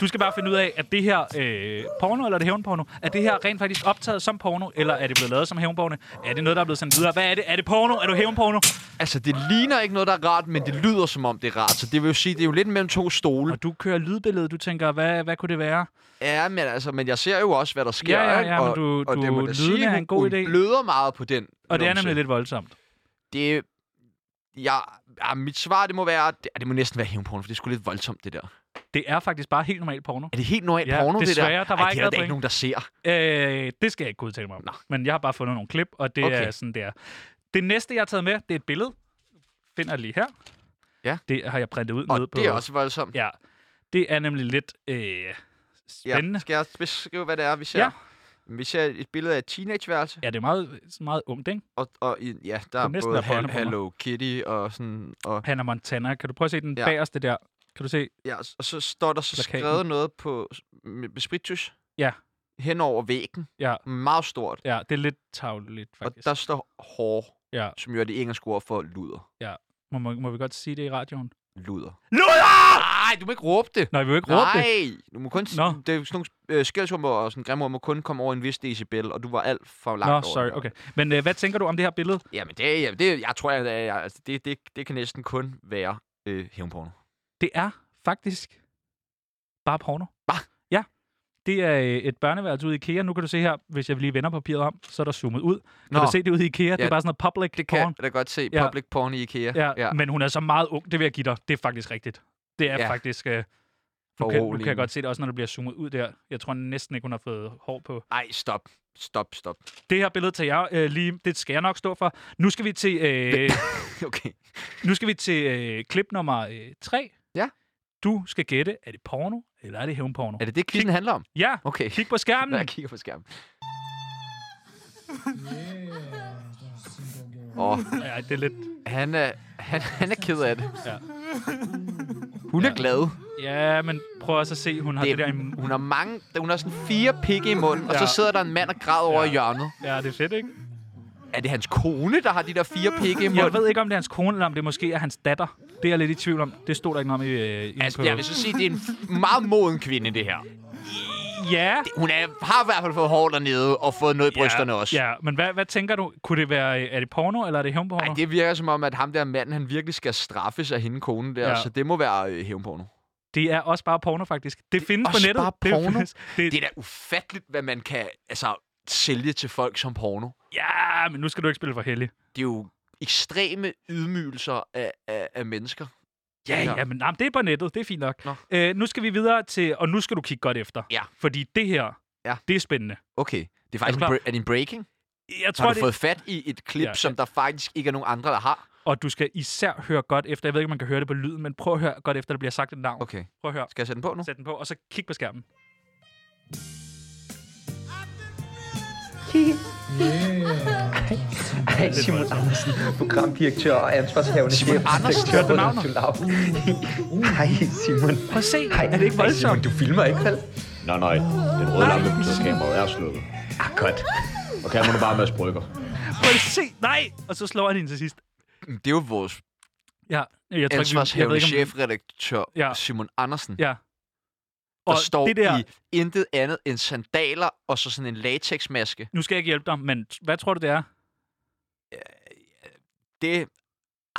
S2: Du skal bare finde ud af, at det her øh, porno, eller er det hævnporno, er det her rent faktisk optaget som porno, eller er det blevet lavet som hævnporno? Er det noget, der er blevet sendt videre? Hvad er det? Er det porno? Er du hævnporno?
S1: Altså, det ligner ikke noget, der er rart, men det lyder som om, det er rart. Så det vil jo sige, det er jo lidt mellem to stole.
S2: Og du kører lydbilledet, du tænker, hvad, hvad kunne det være?
S1: Ja, men altså, men jeg ser jo også, hvad der sker.
S2: Ja, ja,
S1: ikke?
S2: ja, men
S1: og,
S2: du-
S1: og det
S2: du-
S1: må da
S2: lyden
S1: sige,
S2: er
S1: hun-
S2: en god
S1: hun
S2: idé.
S1: bløder meget på den
S2: Og det er
S1: numse.
S2: nemlig lidt voldsomt.
S1: Det, ja, ja, mit svar, det må være... Det, ja, det må næsten være hævnporno, for det er sgu lidt voldsomt, det der.
S2: Det er faktisk bare helt normal porno.
S1: Er det helt normalt
S2: Ja,
S1: porno, det der?
S2: desværre, der var
S1: Ej,
S2: ikke
S1: det er
S2: noget
S1: der ikke
S2: point.
S1: nogen, der ser.
S2: Øh, det skal jeg ikke udtale mig om.
S1: Nå.
S2: Men jeg har bare fundet nogle klip, og det okay.
S1: Okay.
S2: er sådan der. Det næste, jeg har taget med, det er et billede. Finder jeg lige her.
S1: Ja.
S2: Det har jeg printet ud nede
S1: Og
S2: på.
S1: det er også voldsomt.
S2: Ja, det er nemlig lidt øh, spændende.
S1: Skal jeg beskrive, hvad det er, vi ser?
S2: Ja.
S1: Vi ser et billede af et teenageværelse.
S2: Ja, det er meget, meget ungt, ikke?
S1: Og, og i- ja, der
S2: er
S1: er
S2: næsten
S1: både
S2: at pege
S1: Hal-
S2: på mig.
S1: Hello Kitty og sådan... Og,
S2: Hannah Montana. Kan du prøve at se den
S1: Ja.
S2: ja. bagerste der? Kan du se?
S1: ja, og så står der så
S2: Plakaten.
S1: skrevet noget på s- med med spiritus.
S2: Ja.
S1: Hen over væggen.
S2: Ja,
S1: Meget stort.
S2: ja det er lidt tavligt,
S1: Og
S2: faktisk.
S1: der står hår,
S2: Ja.
S1: som jo er det engelske ord for luder.
S2: Må, må, må vi godt sige det i radioen?
S1: Luder.
S2: Luder!
S1: Nej, du må ikke råbe det.
S2: Nå, vi vil jo ikke råbe det.
S1: Nej, du må kun... s-
S2: Nå.
S1: Det er jo sådan nogle øh, skældsord og sådan grimme ord, må kun komme over en vis decibel, og du var alt for langt
S2: Nå,
S1: over.
S2: sorry.
S1: den.
S2: Okay. Men øh, hvad tænker du om det her billede?
S1: Jamen, det, er- jamen, det, jeg tror, jeg, det, er- altså, det, det, det kan næsten kun være øh, hævnporno.
S2: Det er faktisk bare porno.
S1: Hva?
S2: Ja. Det er øh, et børneværelse ude i IKEA. Nu kan du se her, hvis jeg lige vender papiret om, så er der zoomet ud. Kan
S1: Nå,
S2: du se det ude i IKEA? Ja. Det er bare sådan noget public
S1: det kan
S2: porn.
S1: jeg da godt se.
S2: Ja.
S1: Public porn i IKEA.
S2: Ja, ja, men hun er så meget ung, det vil jeg give dig. Det er faktisk rigtigt. Det er
S1: Ja.
S2: ja. faktisk... Øh, nu, kan, nu kan jeg godt se det også, når det bliver zoomet ud der. Jeg tror næsten ikke, hun har fået hår på.
S1: Ej, stop. Stop, stop.
S2: Det her billede tager jeg øh, lige. Det skal jeg nok stå for. Nu skal vi til, øh,
S1: Okay.
S2: nu skal vi til øh, klip nummer øh, 3.
S1: Ja.
S2: Du skal gætte, er det porno, eller er det hævnporno?
S1: Er det det, quizzen handler om?
S2: Ja,
S1: Okay.
S2: kig på skærmen.
S1: Når jeg kigger på skærmen. Åh, oh,
S2: Ja, det er lidt...
S1: han er, han, han er ked af det.
S2: Ja.
S1: Hun er glad.
S2: Ja, men prøv også at se, hun har det, det der i...
S1: Det, hun har mange, hun har sådan fire pikke i munden, og så
S2: Ja.
S1: sidder der en mand og græder over i
S2: Ja.
S1: hjørnet.
S2: Ja, det er fedt, ikke?
S1: Er det hans kone, der har de der fire pikke i munden?
S2: Jeg ved ikke, om det er hans kone, eller om det måske er hans datter. Det er jeg lidt i tvivl om. Det stod der ikke noget om i... Øh, inde
S1: Altså,
S2: på...
S1: jeg vil så sige, det er en f- meget moden kvinde, det her.
S2: Ja.
S1: Hun er, har i hvert fald fået hår dernede, og fået noget i brysterne
S2: ja,
S1: også.
S2: Ja, men hvad, hvad tænker du? Kunne det være... øh, Er det porno, eller er det hævnporno?
S1: Ej, det virker som om, at ham der manden, han virkelig skal straffes af hende kone der, ja.
S2: Ja.
S1: så det må være øh, hævnporno.
S2: det er også bare porno, faktisk. Det, det findes
S1: også
S2: på nettet.
S1: bare porno?
S2: Det, findes-
S1: Det
S2: det, det...
S1: er da ufatteligt, hvad man kan altså, sælge til folk som porno.
S2: Ja, men nu skal du ikke spille for heldig.
S1: Det er jo ekstreme ydmygelser af, af, af mennesker.
S2: Ja,
S1: Ja.
S2: ja, men nej, det er på nettet. Det er fint nok.
S1: Nå.
S2: Øh, nu skal vi videre til... Og nu skal du kigge godt efter.
S1: Ja.
S2: Fordi det her,
S1: Ja.
S2: det er spændende.
S1: Okay, det er
S2: Er du
S1: faktisk en,
S2: klar?
S1: bre- er det en breaking.
S2: Altså, Jeg
S1: Har
S2: tror,
S1: du
S2: det...
S1: fået fat i et klip,
S2: Ja,
S1: ja, som der faktisk ikke er nogen andre, der har?
S2: Og du skal især høre godt efter. Jeg ved ikke, om man kan høre det på lyden, men prøv at høre godt efter, der bliver sagt et navn.
S1: Okay,
S2: Prøv at høre.
S1: skal jeg sætte den på nu?
S2: Sæt den på, og så kig på skærmen.
S6: Goddag, Simon Andersen, programdirektør og ansvarshavende chef.
S2: Andersen,
S6: Direktør
S2: hørte du
S6: under
S2: navnet?
S6: Tulaugen. Hej, Simon.
S2: Prøv at se.
S6: Hej,
S2: Er det ikke
S6: hej,
S2: voldsomt?
S6: Simon, du filmer ikke, vel?
S7: Nej, nej. Den røde lampe på kameraet er slukket.
S6: Ah, godt.
S7: Og kameraet er bare med brygger.
S2: Prøv at se. Nej! Og så slår han hende til sidst.
S1: Mm, Det er jo vores
S2: Ja, jeg tror ikke, vi- jeg ved
S1: ansvarshævende
S2: ikke, om-
S1: chefredaktør,
S2: Ja.
S1: ja. Simon Andersen, ja.
S2: Ja.
S1: der
S2: Og
S1: står
S2: det der,
S1: i intet andet end sandaler og så sådan en latexmaske.
S2: nu skal jeg ikke hjælpe dig, men t- hvad tror du, det er?
S1: Det,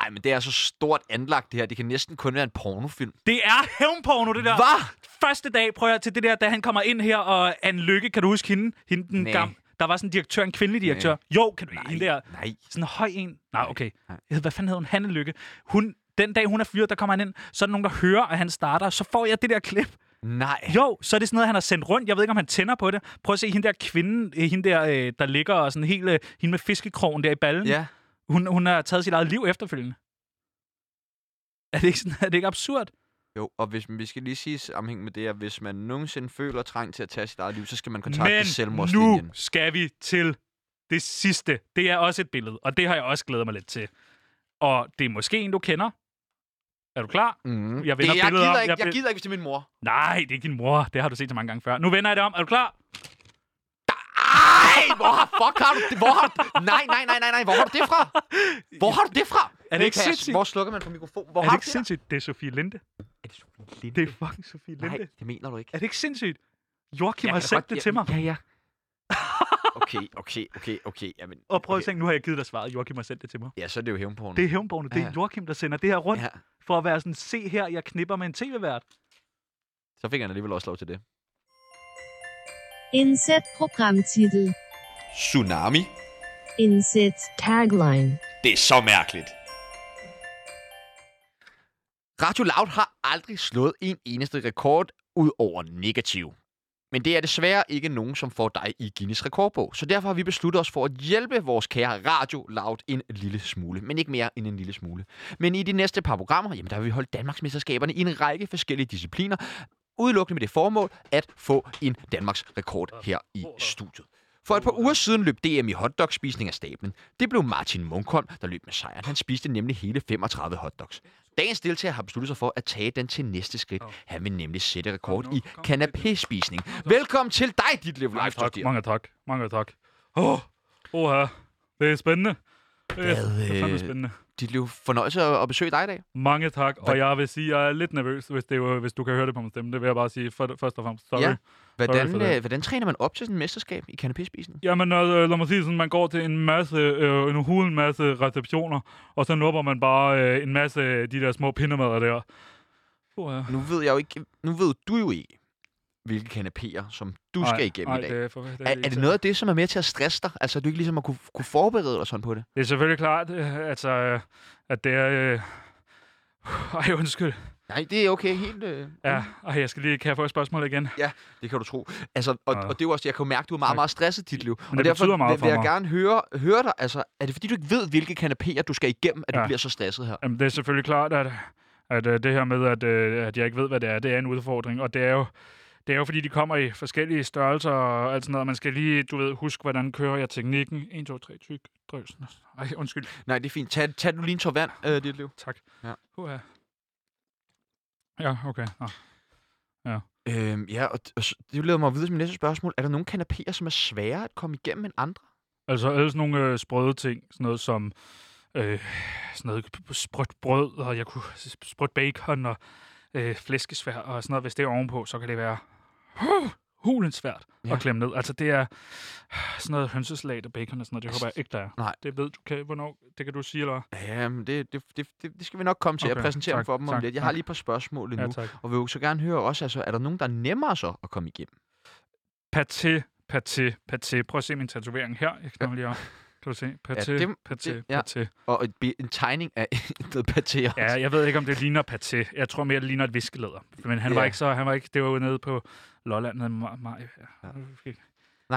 S1: ej, men det er så stort anlagt, det her. Det kan næsten kun være en pornofilm.
S2: Det er hævnporno, det der.
S1: Hvad?
S2: Første dag, prøv at høre, til det der, da han kommer ind her, og Anne Lykke, kan du huske hende? Hende den
S1: Nej.
S2: gam. Der var sådan en direktør, en kvindelig direktør.
S1: Nej.
S2: Jo, kan du ikke? Hende der.
S1: nej.
S2: Sådan en høj en. Nej,
S1: Nej,
S2: okay.
S1: nej.
S2: Jeg ved, Hvad fanden hed hun? Hanne Lykke. Hun, den dag, hun er fyret, der kommer han ind, så er der nogen, der hører, at han starter, så får jeg det der klip.
S1: Nej.
S2: Jo, så er det sådan noget, han har sendt rundt. Jeg ved ikke, om han tænder på det. Prøv at se hende der kvinde, øh, hende der, øh, der ligger og sådan helt, øh, hende med fiskekrogen der i ballen.
S1: Ja.
S2: Hun, hun har taget sit eget liv efterfølgende. Er det ikke, sådan, er det ikke absurd?
S1: Jo, og hvis, vi skal lige sige i sammenhæng med det, at hvis man nogensinde føler trang til at tage sit eget liv, så skal man kontakte
S2: Men
S1: selvmordslinjen. Mhm.
S2: nu skal vi til det sidste. Det er også et billede, og det har jeg også glædet mig lidt til. Og det er måske en, du kender. Er du klar?
S1: Mm.
S2: Jeg vender
S1: det, jeg,
S2: billedet
S1: gider
S2: om.
S1: ikke,
S2: Jeg
S1: jeg
S2: vil-
S1: gider ikke, hvis det er min mor.
S2: Nej, det er ikke din mor. Det har du set så mange gange før. Nu vender jeg det om. Er du klar?
S1: Ej, hvor har, fuck har du det? Hvor har du, nej, nej, nej, nej, nej, hvor har du det fra? Hvor har du det fra?
S2: Er det ikke
S1: Lukas,
S2: sindssygt?
S1: Hvor slukker man for mikrofonen? Hvor
S2: er
S1: har
S2: det
S1: du
S2: ikke sindssygt? Det er Sofie Linde.
S1: Er det Sofie
S2: Det er fucking Sofie Linde.
S1: Nej, det mener du ikke.
S2: Er det ikke sindssygt? Joachim
S1: Jeg
S2: har
S1: kan da
S2: sendt
S1: godt-
S2: det
S1: jeg-
S2: til mig.
S1: Ja, ja. Okay, okay, okay, okay. Jamen,
S2: Og prøv at
S1: okay.
S2: tænke, nu har jeg givet dig svaret. Joachim har sendt det til mig.
S1: Ja, så er det jo hævnporno.
S2: Det er hævnborgerne. Det
S1: Ja,
S2: er
S1: ja.
S2: Joachim, der sender det her rundt.
S1: Ja,
S2: For at være sådan, se her, jeg knipper med en tv-vært.
S1: så fik han alligevel også lov til det.
S4: Inset programtitel.
S3: Tsunami?
S4: Inset tagline.
S3: Det er så mærkeligt.
S1: Radio Loud har aldrig slået en eneste rekord ud over negativ. Men det er desværre ikke nogen, som får dig i Guinness rekordbog. Så derfor har vi besluttet os for at hjælpe vores kære Radio Loud en lille smule. Men ikke mere end en lille smule. Men i de næste par programmer, jamen der vil vi holde Danmarksmesterskaberne i en række forskellige discipliner. Udelukkende med det formål at få en Danmarks rekord her i studiet. For et par uger siden løb DM i hotdogspisning af stablen. Det blev Martin Munkholm, der løb med sejren. Han spiste nemlig hele 35 hotdogs. Dagens deltager har besluttet sig for at tage den til næste skridt. Han vil nemlig sætte rekord i kanapé-spisning. Velkommen til dig, dit liv live
S2: tak, mange tak, mange tak. Åh, oh, oh, det er spændende. Det er,
S1: Hvad,
S2: det er fandme
S1: øh,
S2: spændende.
S1: Dit liv fornøjelse at at besøge dig i dag.
S2: Mange tak, og jeg vil sige, at jeg er lidt nervøs, hvis, det, er- hvis du kan høre det på min stemme. Det vil jeg bare sige for, først og fremmest. Sorry.
S1: Ja.
S2: Ja. Sorry for
S1: Hvordan,
S2: det.
S1: øh, hvordan træner man op til sådan en mesterskab i kanapé-spisning?
S2: Jamen, øh, lad mig sige sådan, man går til en masse, øh, en hul masse receptioner, og så nupper man bare øh, en masse af de der små pindemader der. Oh, ja.
S1: Nu ved jeg jo ikke, nu ved du jo ikke, hvilke kanapéer, som du
S2: Ej,
S1: skal igennem
S2: ej,
S1: i dag.
S2: Det er, for, det
S1: Er, er det noget af det, som er med til at stresse dig? Altså, er du ikke ligesom at kunne, kunne forberede dig sådan på det?
S2: Det er selvfølgelig klart, øh, altså, øh, at det er... Øh... Ej, undskyld.
S1: Nej, det er okay. Helt, øh...
S2: Ja, ej, jeg skal lige... Kan jeg få et spørgsmål igen?
S1: Det kan du tro. Altså, og,
S2: Ja.
S1: og det er jo også, jeg kan jo mærke, at du er meget, meget stresset i dit liv.
S2: Men
S1: og
S2: det
S1: derfor
S2: betyder meget
S1: vil,
S2: for
S1: vil jeg
S2: mig.
S1: gerne høre, høre dig, altså, er det fordi, du ikke ved, hvilke kanapéer du skal igennem, at ja.
S2: Ja.
S1: du bliver så stresset her?
S2: Jamen, det er selvfølgelig klart, at, at øh, det her med, at, øh, at jeg ikke ved, hvad det er, det er en udfordring. Og det er jo, det er jo fordi, de kommer i forskellige størrelser og alt sådan noget. Man skal lige, du ved, huske, hvordan kører jeg teknikken. 1, 2, 3, tyk, drøsen. Ej, undskyld.
S1: Nej, det er fint. Tag, tag du lige en tår vand, øh, dit liv.
S2: Tak.
S1: Ja.
S2: Uha. Ja, okay. Nå.
S1: Øhm, ja, og, og så- det leder mig videre til mit næste spørgsmål. Er der nogle kanapéer, som er sværere at komme igennem end andre?
S2: Altså alle sådan nogle øh, sprøde ting, sådan noget som øh, sådan noget p- p- sprødt brød, og jeg kunne s- sprødt bacon og øh, flæskesvær og sådan noget. Hvis det er ovenpå, så kan det være huh, hulens svært ja.
S1: Ja.
S2: at klemme ned. Altså det er sådan noget hønsesalat og bacon og sådan noget. Det håber jeg ikke, der er.
S1: Nej.
S2: Det ved du, kan, hvornår, det kan du sige, eller?
S1: Jamen, det, det, det, det, det skal vi nok komme til. Okay,
S2: Okay,
S1: jeg præsenterer
S2: tak,
S1: dem for dem om
S2: tak,
S1: lidt. Jeg
S2: tak.
S1: har lige et par spørgsmål endnu.
S2: Ja,
S1: Ja,
S2: tak.
S1: og vil jo så gerne høre også, altså, er der nogen, der er nemmere så at komme igennem?
S2: Paté, paté, paté. Prøv at se min tatovering her. Jeg knapper lige op. Kan du se? Paté, ja,
S1: det-
S2: paté,
S1: det- ja.
S2: paté.
S1: Og et, bi- en tegning af noget paté også.
S2: Ja, jeg ved ikke, om det ligner paté. Jeg tror mere, det ligner et viskelæder. Men han var
S1: Ja.
S2: ikke så... Han var ikke, det var jo nede på Lolland. Nede i Ma- Maj. Ja.
S1: Ja.
S2: Okay.
S1: Nej,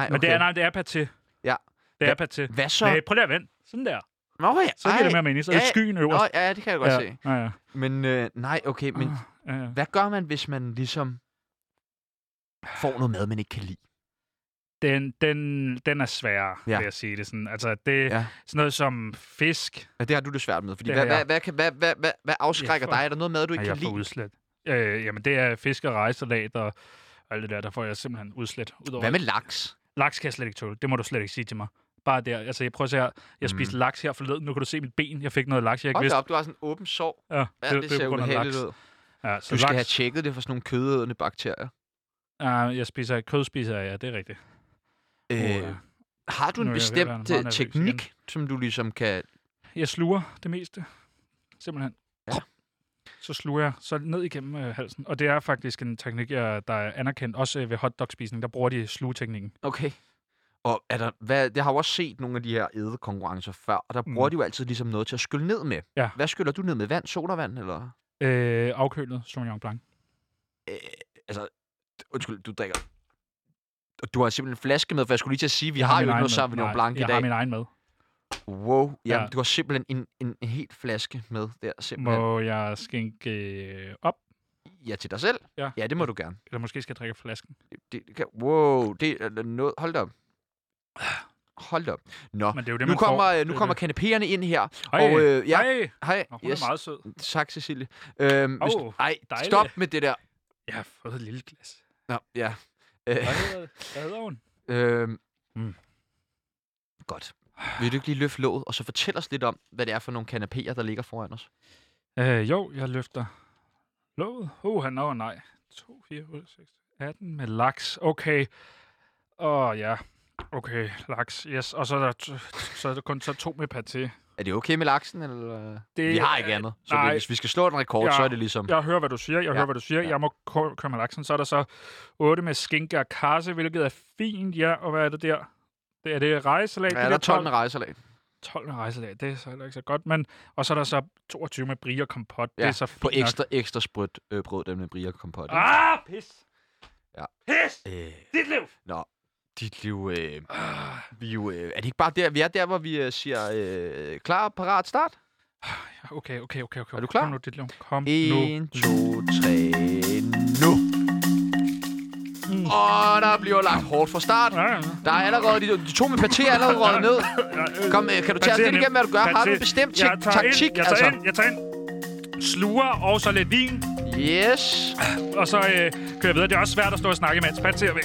S1: okay.
S2: Men det er, nej, det er paté.
S1: Ja.
S2: Det er
S1: Hva-
S2: paté.
S1: Hvad så?
S2: Nej, prøv lige at vende. Sådan der.
S1: Nå ja,
S2: Så giver
S1: ej.
S2: det mere mening. Så er
S1: Ja,
S2: det skyen øverst.
S1: Nå, ja, det kan jeg godt
S2: ja.
S1: ja. se.
S2: Ja, ja.
S1: Men øh, nej, okay, men
S2: ja, ja.
S1: hvad gør man, hvis man ligesom får noget mad, man ikke kan lide?
S2: den, den, den er sværere,
S1: Ja.
S2: ja. vil jeg sige det sådan. Altså, det
S1: Ja.
S2: ja. sådan noget som fisk.
S1: Ja, det har du det svært med. Fordi
S2: Det
S1: hvad,
S2: har jeg.
S1: hvad, hvad, kan- hvad, hvad, hvad, hvad afskrækker
S2: Ja, for-
S1: dig? Er der noget mad, du
S2: Ej,
S1: ikke
S2: jeg
S1: kan
S2: får
S1: lide?
S2: udslæt. Øh, jamen, det er fisk og rejsalat og alt det der, der får jeg simpelthen udslæt. Udover
S1: Hvad med laks?
S2: Laks kan jeg slet ikke tåle. Det må du slet ikke sige til mig. Bare der. Altså, jeg prøver at se her. Jeg spiste laks her forleden. Nu kan du se mit ben. Jeg fik noget laks, jeg ikke
S1: Mm. Hold da
S2: vidste.
S1: op, du har sådan en åben sår.
S2: Ja, det,
S1: Ja, det, det, ser
S2: på grund af
S1: ubehageligt ud.
S2: Ja, så
S1: Du skal have
S2: laks.
S1: tjekket det for sådan nogle kødædende bakterier.
S2: Ja, jeg spiser kød, spiser jeg. Ja, det er rigtigt.
S1: Øh,
S2: Øh.
S1: Har du
S2: Nu
S1: en
S2: er jeg ved at være
S1: bestemt
S2: meget
S1: øh,
S2: nervøs
S1: teknik, som du ligesom kan...
S2: Jeg sluger det meste. Simpelthen.
S1: Ja.
S2: Så sluger jeg så ned igennem øh, halsen. Og det er faktisk en teknik, jeg, der er anerkendt. Også øh, ved hotdog-spisning, der bruger de slugeteknikken.
S1: Okay. Og er der, hvad, jeg har jo også set nogle af de her ædekonkurrencer før, og der bruger
S2: Mm.
S1: de jo altid ligesom noget til at skylle ned med.
S2: Ja.
S1: Hvad skyller du ned med? Vand? Sodavand? Eller?
S2: Øh, afkølet Sauvignon Blanc.
S1: Øh, altså, undskyld, du drikker... Og Du har simpelthen en flaske med, for jeg skulle lige til at sige, vi har,
S2: min
S1: jo ikke
S2: egen
S1: noget
S2: med.
S1: Sauvignon
S2: Nej,
S1: Blanc i
S2: Jeg har
S1: dag.
S2: min egen med.
S1: Wow, jamen,
S2: Ja.
S1: du har simpelthen en, en, en helt flaske med der, simpelthen. Må...
S2: Må jeg skænke øh, op?
S1: Ja, til dig selv?
S2: Ja.
S1: ja det må du gerne.
S2: Eller måske skal jeg drikke af flasken.
S1: Det, det kan... Wow, det er noget... Hold da op. Hold da op. Nå,
S2: Men det er jo det,
S1: nu
S2: man får.
S1: kommer,
S2: Det
S1: øh,
S2: er
S1: nu
S2: det.
S1: kommer kanapéerne ind her.
S2: Ej,
S1: Og, øh, ja,
S2: Ej,
S1: hej.
S2: Nå, hun yes. er meget sød.
S1: Tak, Cecilie. Øhm, hvis...
S2: Åh,
S1: Ej,
S2: dejligt.
S1: stop med det der.
S2: Jeg har fået et lille glas.
S1: Nå, ja. Øh,
S2: Hvad hedder, hvad hedder hun?
S1: øhm.
S2: Mm.
S1: Godt. Vil du ikke lige løfte låget, og så fortæl os lidt om, hvad det er for nogle kanapéer, der ligger foran os?
S2: Øh, jo, jeg løfter låget. Uh, han nå, nej. 2, 4, 8, 6, 18 med laks. Okay. Åh, ja. Okay, laks. Yes. Og så er der, t- så er der kun så to med paté.
S1: Er det okay med laksen, eller...
S2: Det
S1: vi har
S2: er-
S1: ikke andet. Så
S2: nej.
S1: det, hvis vi skal slå en rekord,
S2: Ja.
S1: så er det ligesom...
S2: Jeg hører, hvad du siger. Jeg
S1: Ja,
S2: hører, hvad du siger.
S1: ja.
S2: Jeg må k- køre med laksen. Så er der så 8 med skinke og karse, hvilket er fint. Ja, og hvad er det der? Det er det rejsalat.
S1: Ja,
S2: det
S1: der er 12 med rejsalat.
S2: 12 med rejsalat, det er så heller ikke så godt, men... Og så er der så 22 med brie og kompot, ja,
S1: Ja,
S2: det er så fint
S1: På
S2: nok.
S1: ekstra, ekstra sprødt øh, brød, dem med brie og kompot. ikke?
S2: Ah, pis!
S1: Ja.
S2: Pis!
S1: Øh,
S2: Dit liv!
S1: dit liv... Øh, vi er jo, øh, er det ikke bare der, vi er der, hvor vi øh, siger øh, klar, parat, start?
S2: Okay, okay, okay, okay.
S1: Er du klar?
S2: Kom nu, dit liv. Kom nu.
S1: 1, 2, 3, nu! Mm. Og der bliver lagt hårdt fra start.
S2: Ja, ja.
S1: Der er allerede de, de to med parti er allerede røget ned.
S2: Ja, øh,
S1: Kom, øh, kan du tage os
S2: Paté er
S1: lidt
S2: nem.
S1: igennem, hvad du gør? Har
S2: Paté.
S1: du en bestemt
S2: Jeg
S1: tik-
S2: tager
S1: taktik?
S2: Ind, jeg tager
S1: Altså.
S2: ind, jeg tager ind. Sluger og så lidt vin,
S1: Yes.
S2: og så øh, kører jeg videre. Det er også svært at stå og snakke, mens Patsy er væk.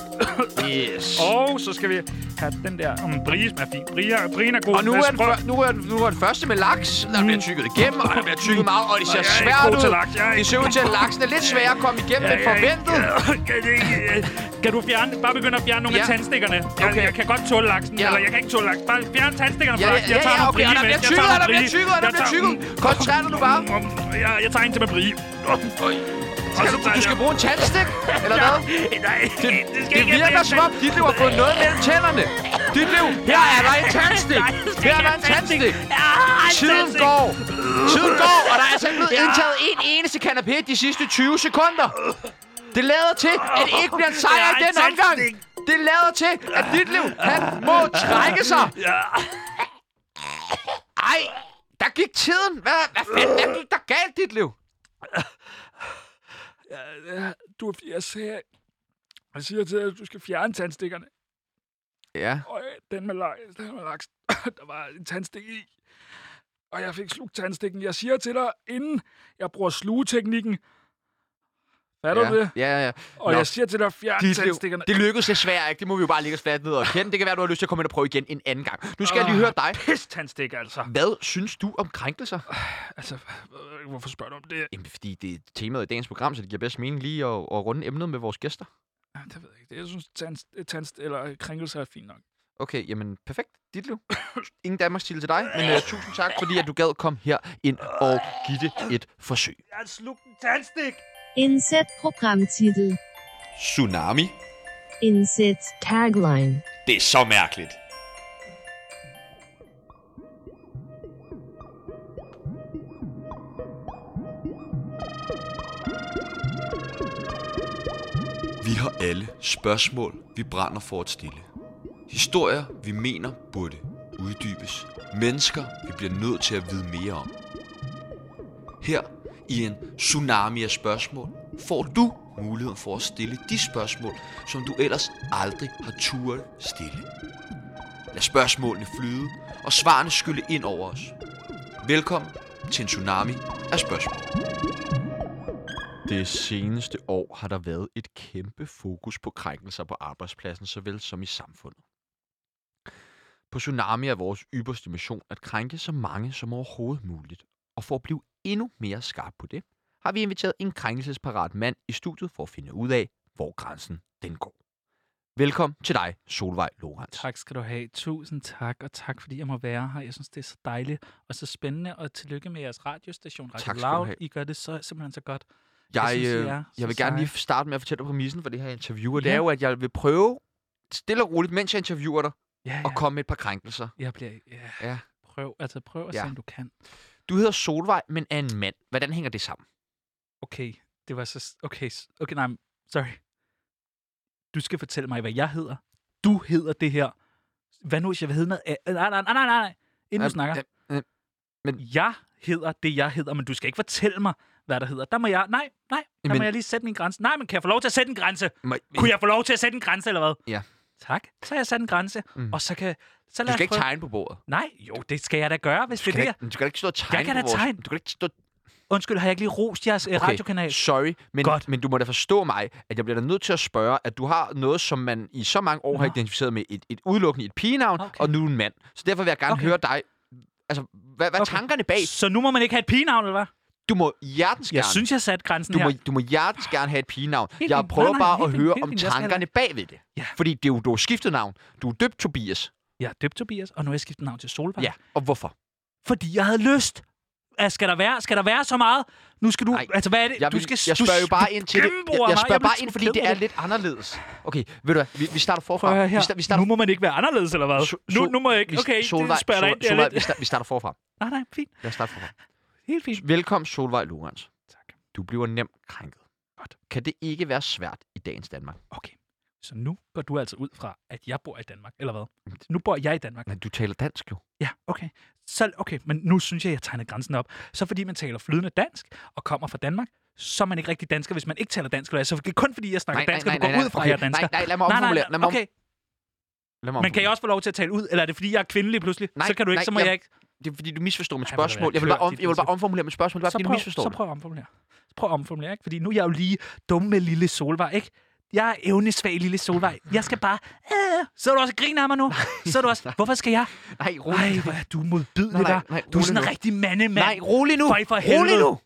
S1: Yes.
S2: og så skal vi have den der... Om Brie smager fint. Brie, Brie er god.
S1: Og nu
S2: Lad os
S1: er, den,
S2: prøve-
S1: før- nu, er den, nu er den første med laks. Der bliver tykket igennem, og der bliver tykket meget, og det ser
S2: Jeg er ikke
S1: svært
S2: god til
S1: ud.
S2: laks. Jeg er
S1: Det
S2: ikke-
S1: ser ud til, at laksen er lidt sværere at komme igennem end forventet.
S2: Kan, det ikke, øh, kan du fjerne, bare begynde at fjerne nogle
S1: Ja.
S2: af tandstikkerne? Jeg,
S1: Okay.
S2: okay. jeg kan godt tåle laksen,
S1: Ja.
S2: ja. eller jeg kan ikke tåle laksen. Bare fjerne tandstikkerne fra
S1: Ja, ja,
S2: laksen. Jeg
S1: ja,
S2: tager
S1: ja,
S2: nogle
S1: okay, og
S2: brie
S1: der
S2: med.
S1: bliver
S2: Jeg
S1: tykket,
S2: tager
S1: og der bliver
S2: brie.
S1: tykket, og der
S2: Jeg
S1: bliver
S2: tager-
S1: tykket. Koncentrer dig nu bare.
S2: Mm, mm, Jeg, jeg tager en til med brie. Og så
S1: Skal du,
S2: tager
S1: du skal
S2: jeg-
S1: bruge en tandstik, eller
S2: Ja.
S1: hvad?
S2: Nej,
S1: Det,
S2: det skal
S1: det
S2: ikke
S1: virker som om, dit liv har fået noget mellem tænderne. Dit liv, her er der en tandstik.
S2: Nej, det skal
S1: Her er
S2: ikke
S1: der
S2: have
S1: en tandstik.
S2: Ja, en
S1: Tiden
S2: tandstik.
S1: går. Tiden går, og der er altså ikke blevet indtaget en eneste kanapé de sidste 20 sekunder. Det lader til, at det ikke bliver en sejr i
S2: Jeg er
S1: den
S2: en
S1: omgang.
S2: tandstik.
S1: Det lader til, at dit liv, han må trække sig. Ej, der gik tiden. Hvad, hvad fanden, hvad gik der galt, dit liv?
S2: Øh, Du, jeg siger, jeg siger til dig, at du skal fjerne tandstikkerne.
S1: Ja.
S2: Og øh, den med laks, den med laks, der var en tandstik i. Og jeg fik slugt tandstikken. Jeg siger til dig, inden jeg bruger slugeteknikken. Fatter
S1: ja.
S2: du det?
S1: Ja, ja, ja.
S2: Og
S1: Nå.
S2: jeg siger til dig, fjern
S1: Dit liv,
S2: tandstikkerne.
S1: det lykkedes desværre ikke. Det må vi jo bare ligge os fladt ned og kende. Det kan være, du har lyst til at komme ind og prøve igen en anden gang. Nu skal jeg lige høre dig.
S2: Pis tandstik, altså.
S1: Hvad synes du om krænkelser?
S2: Altså, øh, hvorfor spørger du om det?
S1: Jamen, fordi det er temaet i dagens program, så det giver bedst mening lige at, at runde emnet med vores gæster.
S2: Ah, Det ved jeg ikke. Jeg synes, tandst, tandst eller øh, krænkelser er fint nok.
S1: Okay, jamen perfekt. Dit liv. Ingen Danmarks til dig, men uh, tusind tak, fordi at du gad komme her ind og give det et forsøg.
S2: Jeg slugt en tandstik!
S4: Inset Programmtitel.
S3: Tsunami?
S4: Inset Tagline.
S3: Det er så mærkeligt. Vi har alle spørgsmål, vi brænder for at stille. Historier, vi mener burde uddybes. Mennesker, vi bliver nødt til at vide mere om. Her i en tsunami af spørgsmål får du muligheden for at stille de spørgsmål, som du ellers aldrig har turet stille. Lad spørgsmålene flyde, og svarene skylle ind over os. Velkommen til en tsunami af spørgsmål.
S1: Det seneste år har der været et kæmpe fokus på krænkelser på arbejdspladsen såvel som i samfundet. På Tsunami er vores ypperste mission at krænke så mange som overhovedet muligt. Og for at blive endnu mere skarp på det, har vi inviteret en krænkelsesparat mand i studiet for at finde ud af, hvor grænsen den går. Velkommen til dig, Solvej Lorenz.
S2: Tak skal du have. Tusind tak, og tak fordi jeg må være her. Jeg synes, det er så dejligt og så spændende, og tillykke med jeres radiostation Radio
S1: Tak skal du
S2: Loud.
S1: have.
S2: I gør det så simpelthen så godt.
S1: Jeg,
S2: Jeg synes, I
S1: øh,
S2: er så
S1: jeg vil gerne
S2: seje.
S1: lige starte med at fortælle dig præmissen for det her interview, og ja. det
S2: Ja.
S1: er jo, at jeg vil prøve stille og roligt, mens jeg interviewer dig,
S2: Ja, ja.
S1: at komme med et par krænkelser.
S2: Jeg bliver... Ja.
S1: Ja.
S2: ja. Prøv, altså prøv at
S1: Ja.
S2: ja. se, om du kan.
S1: Du hedder Solvej, men er en mand. Hvordan hænger det sammen?
S2: Okay, det var så... Okay, s- okay nej, sorry. Du skal fortælle mig, hvad jeg hedder. Du hedder det her. Hvad nu, hvis jeg vil hedde noget? a- Nej, nej, nej, nej, nej. Inden
S1: Øhm,
S2: du snakker.
S1: øhm, øhm,
S2: Jeg hedder det, jeg hedder, men du skal ikke fortælle mig, hvad der hedder. Der må jeg... Nej, nej. Der
S1: Men-
S2: må jeg lige sætte min grænse. Nej, men kan jeg få lov til at sætte en grænse?
S1: Må-
S2: Kunne jeg få lov til at sætte en grænse, eller hvad?
S1: Ja.
S2: Tak. Så har jeg sat en grænse,
S1: Mm.
S2: mm. og så kan... Så
S1: Du
S2: lad
S1: skal
S2: os
S1: ikke
S2: prøve.
S1: tegne på bordet.
S2: Nej, jo, det skal jeg da gøre, hvis
S1: Du
S2: det er
S1: skal,
S2: det.
S1: ikke, du skal ikke stå og tegne
S2: kan
S1: på
S2: da
S1: vores...
S2: tegne.
S1: Du skal ikke stå...
S2: jeg- Undskyld, har jeg ikke lige rost jeres okay. radiokanal?
S1: sorry, men,
S2: Godt.
S1: men du må da forstå mig, at jeg bliver da nødt til at spørge, at du har noget, som man i så mange år har
S2: Nå.
S1: identificeret med et, et udelukkende et pigenavn,
S2: Okay.
S1: og nu en mand. Så derfor vil jeg gerne
S2: Okay.
S1: høre dig... Altså, hvad, hvad er
S2: Okay.
S1: tankerne bag?
S2: Så nu må man ikke have et pigenavn, eller hvad?
S1: Du må hjertens
S2: Jeg
S1: gerne...
S2: synes, jeg satte grænsen
S1: du
S2: her.
S1: må, du må hjertens gerne have et pigenavn.
S2: Helt
S1: Jeg
S2: fint.
S1: prøver
S2: Nej, nej,
S1: bare
S2: helt
S1: at
S2: fint,
S1: høre
S2: helt
S1: om
S2: fint. Jeg skal
S1: tankerne bagved det.
S2: Ja.
S1: Fordi det er jo, du har skiftet navn. Du er døbt Tobias.
S2: Jeg er døbt Tobias, og nu har jeg skiftet navn til Solvej.
S1: Ja, og hvorfor?
S2: Fordi jeg havde lyst. Altså, skal der være, skal der være så meget? Nu skal du...
S1: Nej,
S2: Nej, altså, hvad er det?
S1: Jeg,
S2: du skal,
S1: jeg
S2: du
S1: spørger jo bare
S2: du
S1: ind til det. Jeg,
S2: gennembruger
S1: jeg
S2: mig.
S1: spørger
S2: bliver
S1: bare
S2: sgu
S1: ind, fordi
S2: ked
S1: det
S2: af
S1: er lidt anderledes. Okay, ved du hvad? Vi, vi starter forfra.
S2: Prøv at høre
S1: Vi,
S2: her.
S1: sta- vi starter
S2: nu må man ikke være anderledes, eller hvad?
S1: So-
S2: nu,
S1: so-
S2: nu må jeg ikke...
S1: vi-
S2: Okay,
S1: Solvej,
S2: det spørger dig ind.
S1: Solvej,
S2: Det er
S1: Solvej, vi,
S2: lidt...
S1: sta- vi starter forfra.
S2: Nej, nej, fint.
S1: Lad os starte forfra.
S2: Helt fint.
S1: Velkommen, Solvej Lorenz.
S2: Tak.
S1: Du bliver nemt krænket.
S2: Godt.
S1: Kan det ikke være svært i dagens Danmark?
S2: Okay. Så nu går du altså ud fra, at jeg bor i Danmark, eller hvad? Nu bor jeg i Danmark.
S1: Men du taler dansk jo.
S2: Ja, okay. Så, okay, men nu synes jeg, jeg tegner grænsen op. Så fordi man taler flydende dansk og kommer fra Danmark, så er man ikke rigtig dansker, hvis man ikke taler dansk. eller hvad? Så det er kun fordi, jeg snakker
S1: Nej, nej,
S2: dansk, og
S1: nej,
S2: du går
S1: nej, nej.
S2: ud fra,
S1: Okay,
S2: at jeg er dansker.
S1: nej, nej, lad mig omformulere. Lad mig om-
S2: okay.
S1: Lad mig
S2: Men kan
S1: omformulere.
S2: jeg også få lov til at tale ud, eller er det fordi, jeg er kvindelig pludselig?
S1: Nej,
S2: så kan du ikke,
S1: nej,
S2: så må
S1: jeg-
S2: jeg, ikke.
S1: Det er fordi, du misforstår mit
S2: Ej, hvor er det
S1: spørgsmål. Jeg vil bare,
S2: klørt,
S1: om,
S2: dit
S1: jeg vil bare
S2: ansigt.
S1: omformulere mit spørgsmål. Det var
S2: Så
S1: fordi, du
S2: prøv,
S1: misforstår
S2: så
S1: det.
S2: prøv at omformulere. Så prøv at omformulere, ikke? Fordi nu er jeg jo lige dumme lille Solvej, ikke? Jeg er evnesvag lille Solvej. Jeg skal bare... Øh, så er du også griner af mig nu. Så er du også... Hvorfor skal jeg?
S1: Nej, rolig.
S2: Ej, hvor er du modbydelig
S1: Nej, nej,
S2: der.
S1: nej,
S2: Du er
S1: rolig
S2: sådan en
S1: nu.
S2: rigtig mandemand.
S1: Nej, rolig nu.
S2: For i for
S1: rolig
S2: helvede.
S1: nu.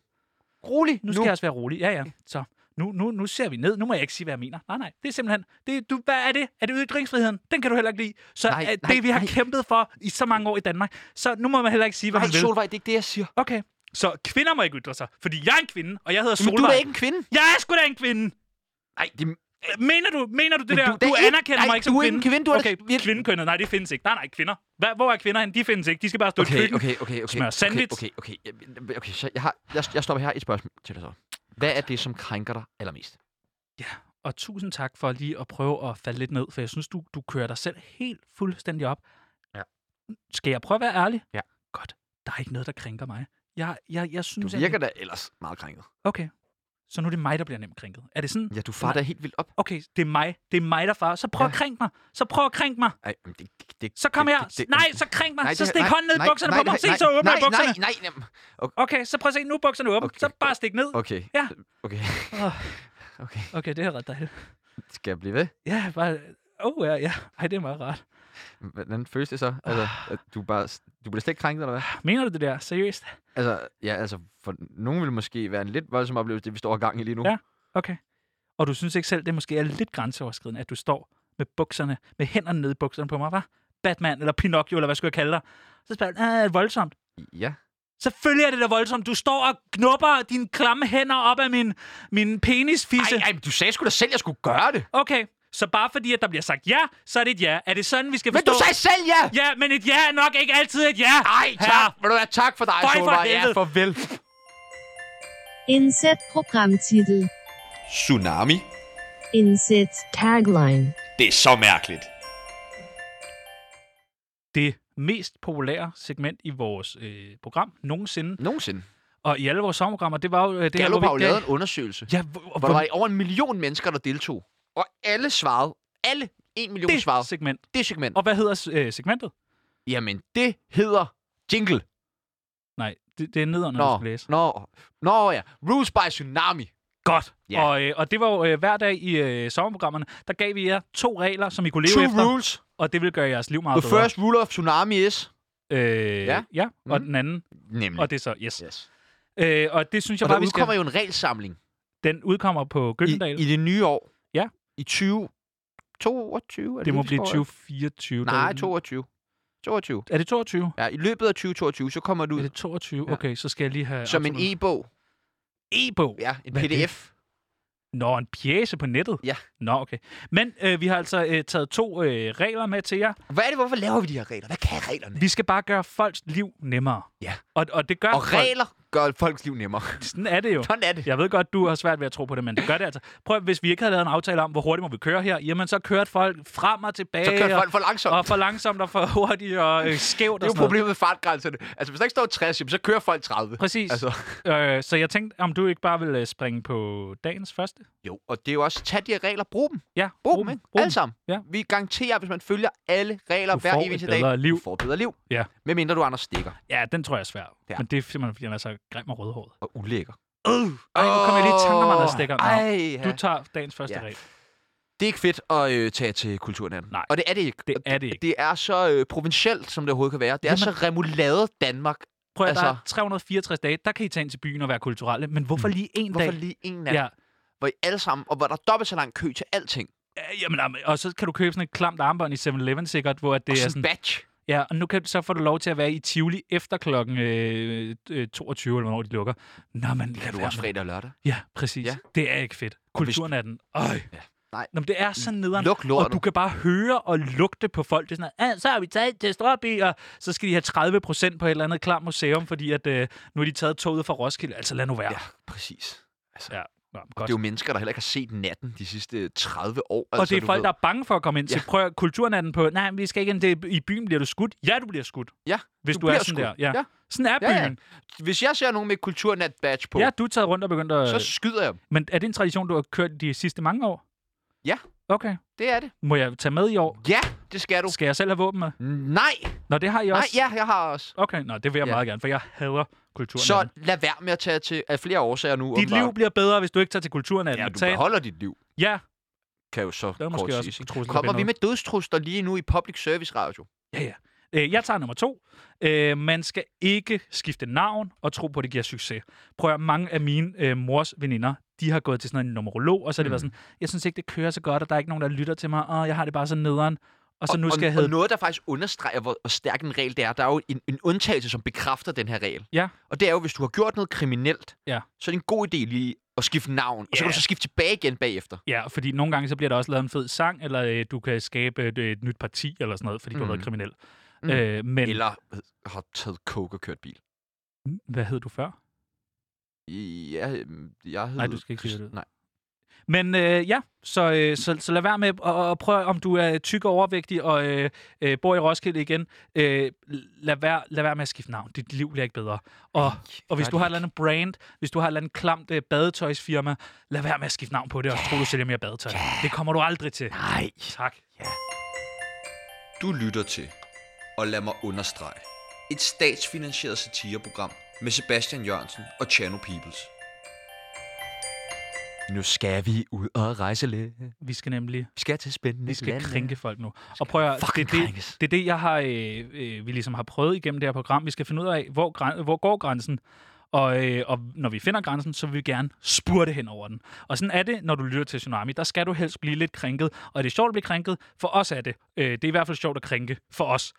S1: Rolig
S2: Nu skal jeg også være rolig. Ja, ja. Så nu, nu, nu ser vi ned. Nu må jeg ikke sige, hvad jeg mener. Nej, nej. Det er simpelthen... Det, du, hvad er det? Er det ytringsfriheden? Den kan du heller ikke lide. Så
S1: Nej,
S2: nej, det,
S1: nej,
S2: vi har
S1: nej.
S2: kæmpet for i så mange år i Danmark. Så nu må man heller ikke sige, hvad
S1: Nej,
S2: man vil.
S1: Solvej, det er ikke det, jeg siger.
S2: Okay. Så kvinder må ikke ytre sig, fordi jeg er en kvinde, og jeg hedder
S1: Men
S2: Solvej.
S1: du er da ikke en kvinde.
S2: Jeg er sgu da en kvinde!
S1: Nej, det,
S2: Mener du, mener du det
S1: Men
S2: der?
S1: du er da
S2: Du,
S1: ikke-
S2: anerkender
S1: nej,
S2: mig ikke
S1: du
S2: som
S1: er ikke
S2: kvinde.
S1: en kvinde, du er da
S2: okay,
S1: virkelig-
S2: kvindekønnet, nej, det findes ikke. Nej, nej, kvinder. Hvad, hvor er kvinder henne? De findes ikke. De skal bare stå i
S1: okay,
S2: køkkenet.
S1: okay, okay, okay.
S2: Smør
S1: okay,
S2: sandwich.
S1: okay, okay, okay, okay, så jeg, har, jeg, jeg stopper her et spørgsmål til dig så. Hvad er det, som krænker dig allermest?
S2: Og tusind tak for lige at prøve at falde lidt ned, for jeg synes, du, du kører dig selv helt fuldstændig op.
S1: Ja.
S2: Skal jeg prøve at være ærlig?
S1: Ja.
S2: Godt. Der er ikke noget, der krænker mig. Jeg, jeg, jeg
S1: Du
S2: synes,
S1: virker
S2: at...
S1: da ellers meget krænket.
S2: Okay. Så nu er det mig, der bliver nemt krænket. Er det sådan?
S1: Ja, du far da helt vildt op.
S2: Okay, det er mig. Det er mig, der far. Så prøv at krænke mig. Så prøv at krænke mig.
S1: Nej, men det, det, det,
S2: Så kom
S1: det,
S2: her.
S1: det- det-
S2: Nej, så krænk mig.
S1: nej, det
S2: så
S1: her-
S2: stik
S1: nej,
S2: hånden ned i
S1: nej,
S2: bukserne
S1: nej,
S2: på mig. Se,
S1: nej,
S2: så åbner
S1: nej,
S2: jeg bukserne.
S1: Nej, nej, nej.
S2: Okay, så prøv at se, nu er bukserne åbne.
S1: Okay.
S2: Så bare stik ned.
S1: Okay,
S2: Ja.
S1: okay.
S2: Okay, det er ret dejligt.
S1: Skal jeg blive ved?
S2: Ja, bare... Åh, oh, ja, ja. Ej, det er meget rart.
S1: Hvordan føles det så? Altså, at du, bare, du bliver slet ikke krænket, eller hvad?
S2: Mener du det der? Seriøst?
S1: Altså, ja, altså, for nogen vil måske være en lidt voldsom oplevelse, det vi står i gang i lige nu.
S2: Ja. Okay. Og du synes ikke selv, det måske er lidt grænseoverskridende, at du står med bukserne, med hænderne nede i bukserne på mig, hva'? Batman eller Pinocchio, eller hvad skulle jeg kalde dig? Så spørger han, er det voldsomt?
S1: Ja.
S2: Selvfølgelig er det da voldsomt. Du står og knupper dine klamme hænder op af min, min penisfisse.
S1: Ej, ej, men du sagde sgu da selv, jeg skulle gøre det.
S2: Okay, så bare fordi, at der bliver sagt ja, så er det et ja. Er det sådan, vi skal
S1: Men
S2: forstå?
S1: du sagde selv ja!
S2: Ja, men et ja er nok ikke altid et ja.
S1: Nej, tak.
S2: Herre,
S1: Vil du være tak for dig,
S2: Føj for
S1: Solvej. Ja,
S2: helvede.
S1: farvel.
S4: Inset Programmtitel.
S3: Tsunami.
S4: Inset Tagline.
S3: Det er så mærkeligt.
S2: Det mest populære segment i vores øh, program nogensinde.
S1: Nogensinde.
S2: Og i alle vores sommerprogrammer, det var jo øh, det her, hvor
S1: Gallup
S2: vi
S1: har jo
S2: gav-
S1: lavet en undersøgelse,
S2: Ja, hvor, hvor,
S1: hvor der var over en million mennesker, der deltog. Og alle svarede. Alle en million
S2: det
S1: svarede.
S2: segment.
S1: Det segment.
S2: Og hvad hedder øh, segmentet?
S1: Jamen, det hedder jingle.
S2: Nej, det, det er nederen, når du
S1: Nå,
S2: skal læse.
S1: nå, nå ja. Rules by Tsunami.
S2: Godt.
S1: Ja.
S2: Og, øh, og det var jo øh, hver dag i øh, sommerprogrammerne, der gav vi jer to regler, som I kunne leve
S1: Two
S2: efter, Ah,
S1: rules.
S2: og det ville gøre jeres liv meget
S1: The
S2: bedre.
S1: first rule of Tsunami is...
S2: Øh, ja.
S1: Ja.
S2: ja, og
S1: Mhm.
S2: den anden,
S1: Nemlig.
S2: og det er så, yes.
S1: yes.
S2: Øh, og det synes jeg
S1: Og
S2: bare,
S1: der
S2: vi skal...
S1: udkommer jo en regelsamling
S2: Den udkommer på
S1: i,
S2: Gyldendal.
S1: i det nye år.
S2: Ja.
S1: I 20... 22? er
S2: det må
S1: vi
S2: blive
S1: står i?
S2: 2024. der er
S1: Nej,
S2: den.
S1: 22. 22.
S2: Er det 22?
S1: Ja, i løbet af 2022, så kommer det
S2: Er
S1: ud
S2: det 22?
S1: Ja.
S2: Okay, så skal jeg lige have...
S1: som en
S2: absolut-
S1: e-bog.
S2: e-bog.
S1: Ja, en
S2: Hvad er det?
S1: pdf.
S2: Nå, en pjæse på nettet?
S1: Ja.
S2: Nå, okay. Men øh, vi har altså øh, taget to øh, regler med til jer.
S1: Hvad er det, hvorfor laver vi de her regler? Hvad kan reglerne?
S2: Vi skal bare gøre folks liv nemmere.
S1: Ja.
S2: Og, og det gør
S1: Og
S2: folk.
S1: regler gør folks liv nemmere.
S2: Sådan er det jo.
S1: Sådan er det.
S2: Jeg ved godt, du har svært ved at tro på det, men det gør det altså. Prøv, at- hvis vi ikke havde lavet en aftale om, hvor hurtigt må vi køre her, jamen så kørte folk frem og tilbage.
S1: Så kører
S2: og-
S1: folk for langsomt.
S2: og for langsomt og for hurtigt og øh, skævt
S1: Det er
S2: og
S1: jo
S2: sådan noget.
S1: problemet med fartgrænserne. Altså, hvis der ikke står 60, jamen, så kører folk 30.
S2: Præcis.
S1: Altså.
S2: Øh, så jeg tænkte, om du ikke bare vil øh, springe på dagens første?
S1: Jo, og det er jo også, tag de her regler, brug dem.
S2: Ja,
S1: Brug,
S2: brug
S1: dem, ikke? Altså.
S2: brug
S1: Alle sammen.
S2: Ja.
S1: Vi garanterer, at hvis man følger alle regler
S2: Du
S1: hver
S2: får
S1: evig
S2: et
S1: til dag,
S2: bedre liv.
S1: du får et bedre liv.
S2: Ja.
S1: Medmindre du er Anders Stikker
S2: Ja, den tror jeg er svær.
S1: Ja.
S2: Men det er simpelthen, fordi han er så grim og rødhåret.
S1: og ulækker.
S2: Ej, nu kom jeg lige i tanke om
S1: Åh,
S2: Anders Stikker. Nå,
S1: Ej,
S2: Du
S1: ja.
S2: tager dagens første
S1: Ja.
S2: regel.
S1: Det er ikke fedt at øh, tage til kulturnatten.
S2: Nej.
S1: Og det er det ikke.
S2: Det
S1: Og
S2: er det ikke.
S1: det er så øh, provincielt, som det overhovedet kan være. Det er
S2: Jamen- Mm.
S1: så remulade Danmark.
S2: Prøv at der er
S1: Altså-
S2: 364 dage, der kan I tage ind til byen og være kulturelle, men hvorfor lige en
S1: Hvorfor
S2: dag?
S1: lige en nat,
S2: Ja,
S1: ja. hvor I alle sammen, og hvor der er dobbelt så lang kø til alting.
S2: Ja, Øh, jamen, jamen, og så kan du købe sådan et klamt armbånd i 7-Eleven sikkert, hvor at det
S1: og
S2: er
S1: sådan
S2: sådan,
S1: batch.
S2: ja, og nu kan, så får du lov til at være i Tivoli efter klokken øh, øh, 22, eller hvornår de lukker. Nå, men lad
S1: Kan du
S2: være
S1: også
S2: med-
S1: fredag og lørdag?
S2: Ja, præcis. Ja.
S1: Ja.
S2: Det er ikke fedt.
S1: Og hvis-
S2: Kulturnatten. Øj. Ja.
S1: Nej.
S2: Nå, men det er så nederen.
S1: Luk
S2: og
S1: lortet.
S2: du kan bare høre og lugte på folk. Det er sådan, "Ah, så har vi taget til Strøby, og så skal de have 30 procent på et eller andet klam museum, fordi at, øh, nu har de taget toget fra Roskilde. Altså, lad nu være.
S1: Ja, præcis. Altså,
S2: Ja, Nå,
S1: Det
S2: godt.
S1: er jo mennesker, der heller ikke har set natten de sidste 30 år. altså,
S2: og det er folk, der er bange for at komme ind til.
S1: Ja.
S2: Prøv at- kulturnatten på, nej, men vi skal ikke ind til, i byen bliver du skudt. Ja, du bliver skudt.
S1: Ja,
S2: Hvis du,
S1: du
S2: er
S1: bliver
S2: sådan
S1: skudt.
S2: der. Ja.
S1: Ja.
S2: Sådan er
S1: Ja, ja.
S2: byen.
S1: der... Hvis jeg ser nogen med kulturnat badge på,
S2: Ja, du er taget rundt og begyndt at...
S1: så skyder jeg dem.
S2: Men er det en tradition, du har kørt de sidste mange år?
S1: Ja.
S2: Okay.
S1: Det er det.
S2: Må jeg tage med i år?
S1: Ja, det skal du.
S2: Skal jeg selv have våben med?
S1: Nej,
S2: Nå, det har jeg
S1: nej,
S2: også.
S1: ja, jeg har også.
S2: Okay, nå, det vil jeg ja.
S1: Ja.
S2: meget gerne, for jeg hader kulturen.
S1: Så lad være med at tage til af flere årsager nu.
S2: Dit liv bliver bedre, hvis du ikke tager til kulturen af
S1: Ja, du beholder dit liv,
S2: Ja,
S1: kan jo så
S2: er måske
S1: kort
S2: også
S1: siges. ikke?
S2: trusler, der
S1: Kommer
S2: binder
S1: vi
S2: ud.
S1: med dødstrusler lige nu i public service radio?
S2: ja, ja. Øh, Jeg tager nummer to. Øh, man skal ikke skifte navn og tro på, at det giver succes. Prøv at høre, mange af mine øh, mors veninder, de har gået til sådan en numerolog, og så har mm. det været sådan, jeg synes ikke, det kører så godt, og der er ikke nogen, der lytter til mig, og jeg har det bare så nederen. Og så nu skal
S1: og,
S2: jeg
S1: og
S2: hedde...
S1: noget, der faktisk understreger, hvor hvor stærk en regel det er. Der er jo en, en undtagelse, som bekræfter den her regel.
S2: Ja.
S1: Og det er jo, hvis du har gjort noget kriminelt,
S2: Ja.
S1: så er det en god idé lige at skifte navn. Og så kan
S2: Ja.
S1: du så skifte tilbage igen bagefter.
S2: Ja, fordi nogle gange, så bliver der også lavet en fed sang, eller øh, du kan skabe et, et nyt parti, eller sådan noget, fordi mm. du har
S1: Mhm.
S2: været kriminel. Mm.
S1: Mm.
S2: Øh, men, eller...
S1: Eller øh, har taget coke og kørt bil.
S2: hvad hed du før?
S1: Ja, øhm, jeg hed...
S2: Nej, du skal ikke sige det.
S1: Nej.
S2: Men øh, ja, så, øh, så, så lad være med at, at prøve, om du er tyk og overvægtig og øh, øh, bor i Roskilde igen. Øh, lad, være, lad være med at skifte navn. Dit liv bliver ikke bedre. Og, og hvis
S1: gør
S2: du
S1: det
S2: har et eller andet brand, hvis du har et eller andet klamt øh, badetøjsfirma, lad være med at skifte navn på det, og tro, du sælger mere badetøj. Det kommer du aldrig til.
S1: Nej.
S2: Tak.
S1: Du lytter til, og lad mig understrege, et statsfinansieret satireprogram med Sebastian Jørgensen og Chano Peoples. Nu skal vi ud og rejse lidt. Vi
S2: Vi skal nemlig
S1: skal til spændende
S2: vi skal
S1: lande.
S2: krænke folk nu. Og prøv at høre, det,
S1: fucking
S2: er det,
S1: krænkes.
S2: det er det, jeg har, øh, øh, vi ligesom har prøvet igennem det her program. Vi skal finde ud af, hvor, græn, hvor går grænsen? Og, øh, og når vi finder grænsen, så vil vi gerne spurte hen over den. Og sådan er det, når du lytter til Tsunami. Der skal du helst blive lidt krænket. Og er det sjovt at blive krænket? For os er det. Øh, det er i hvert fald sjovt at krænke. For os.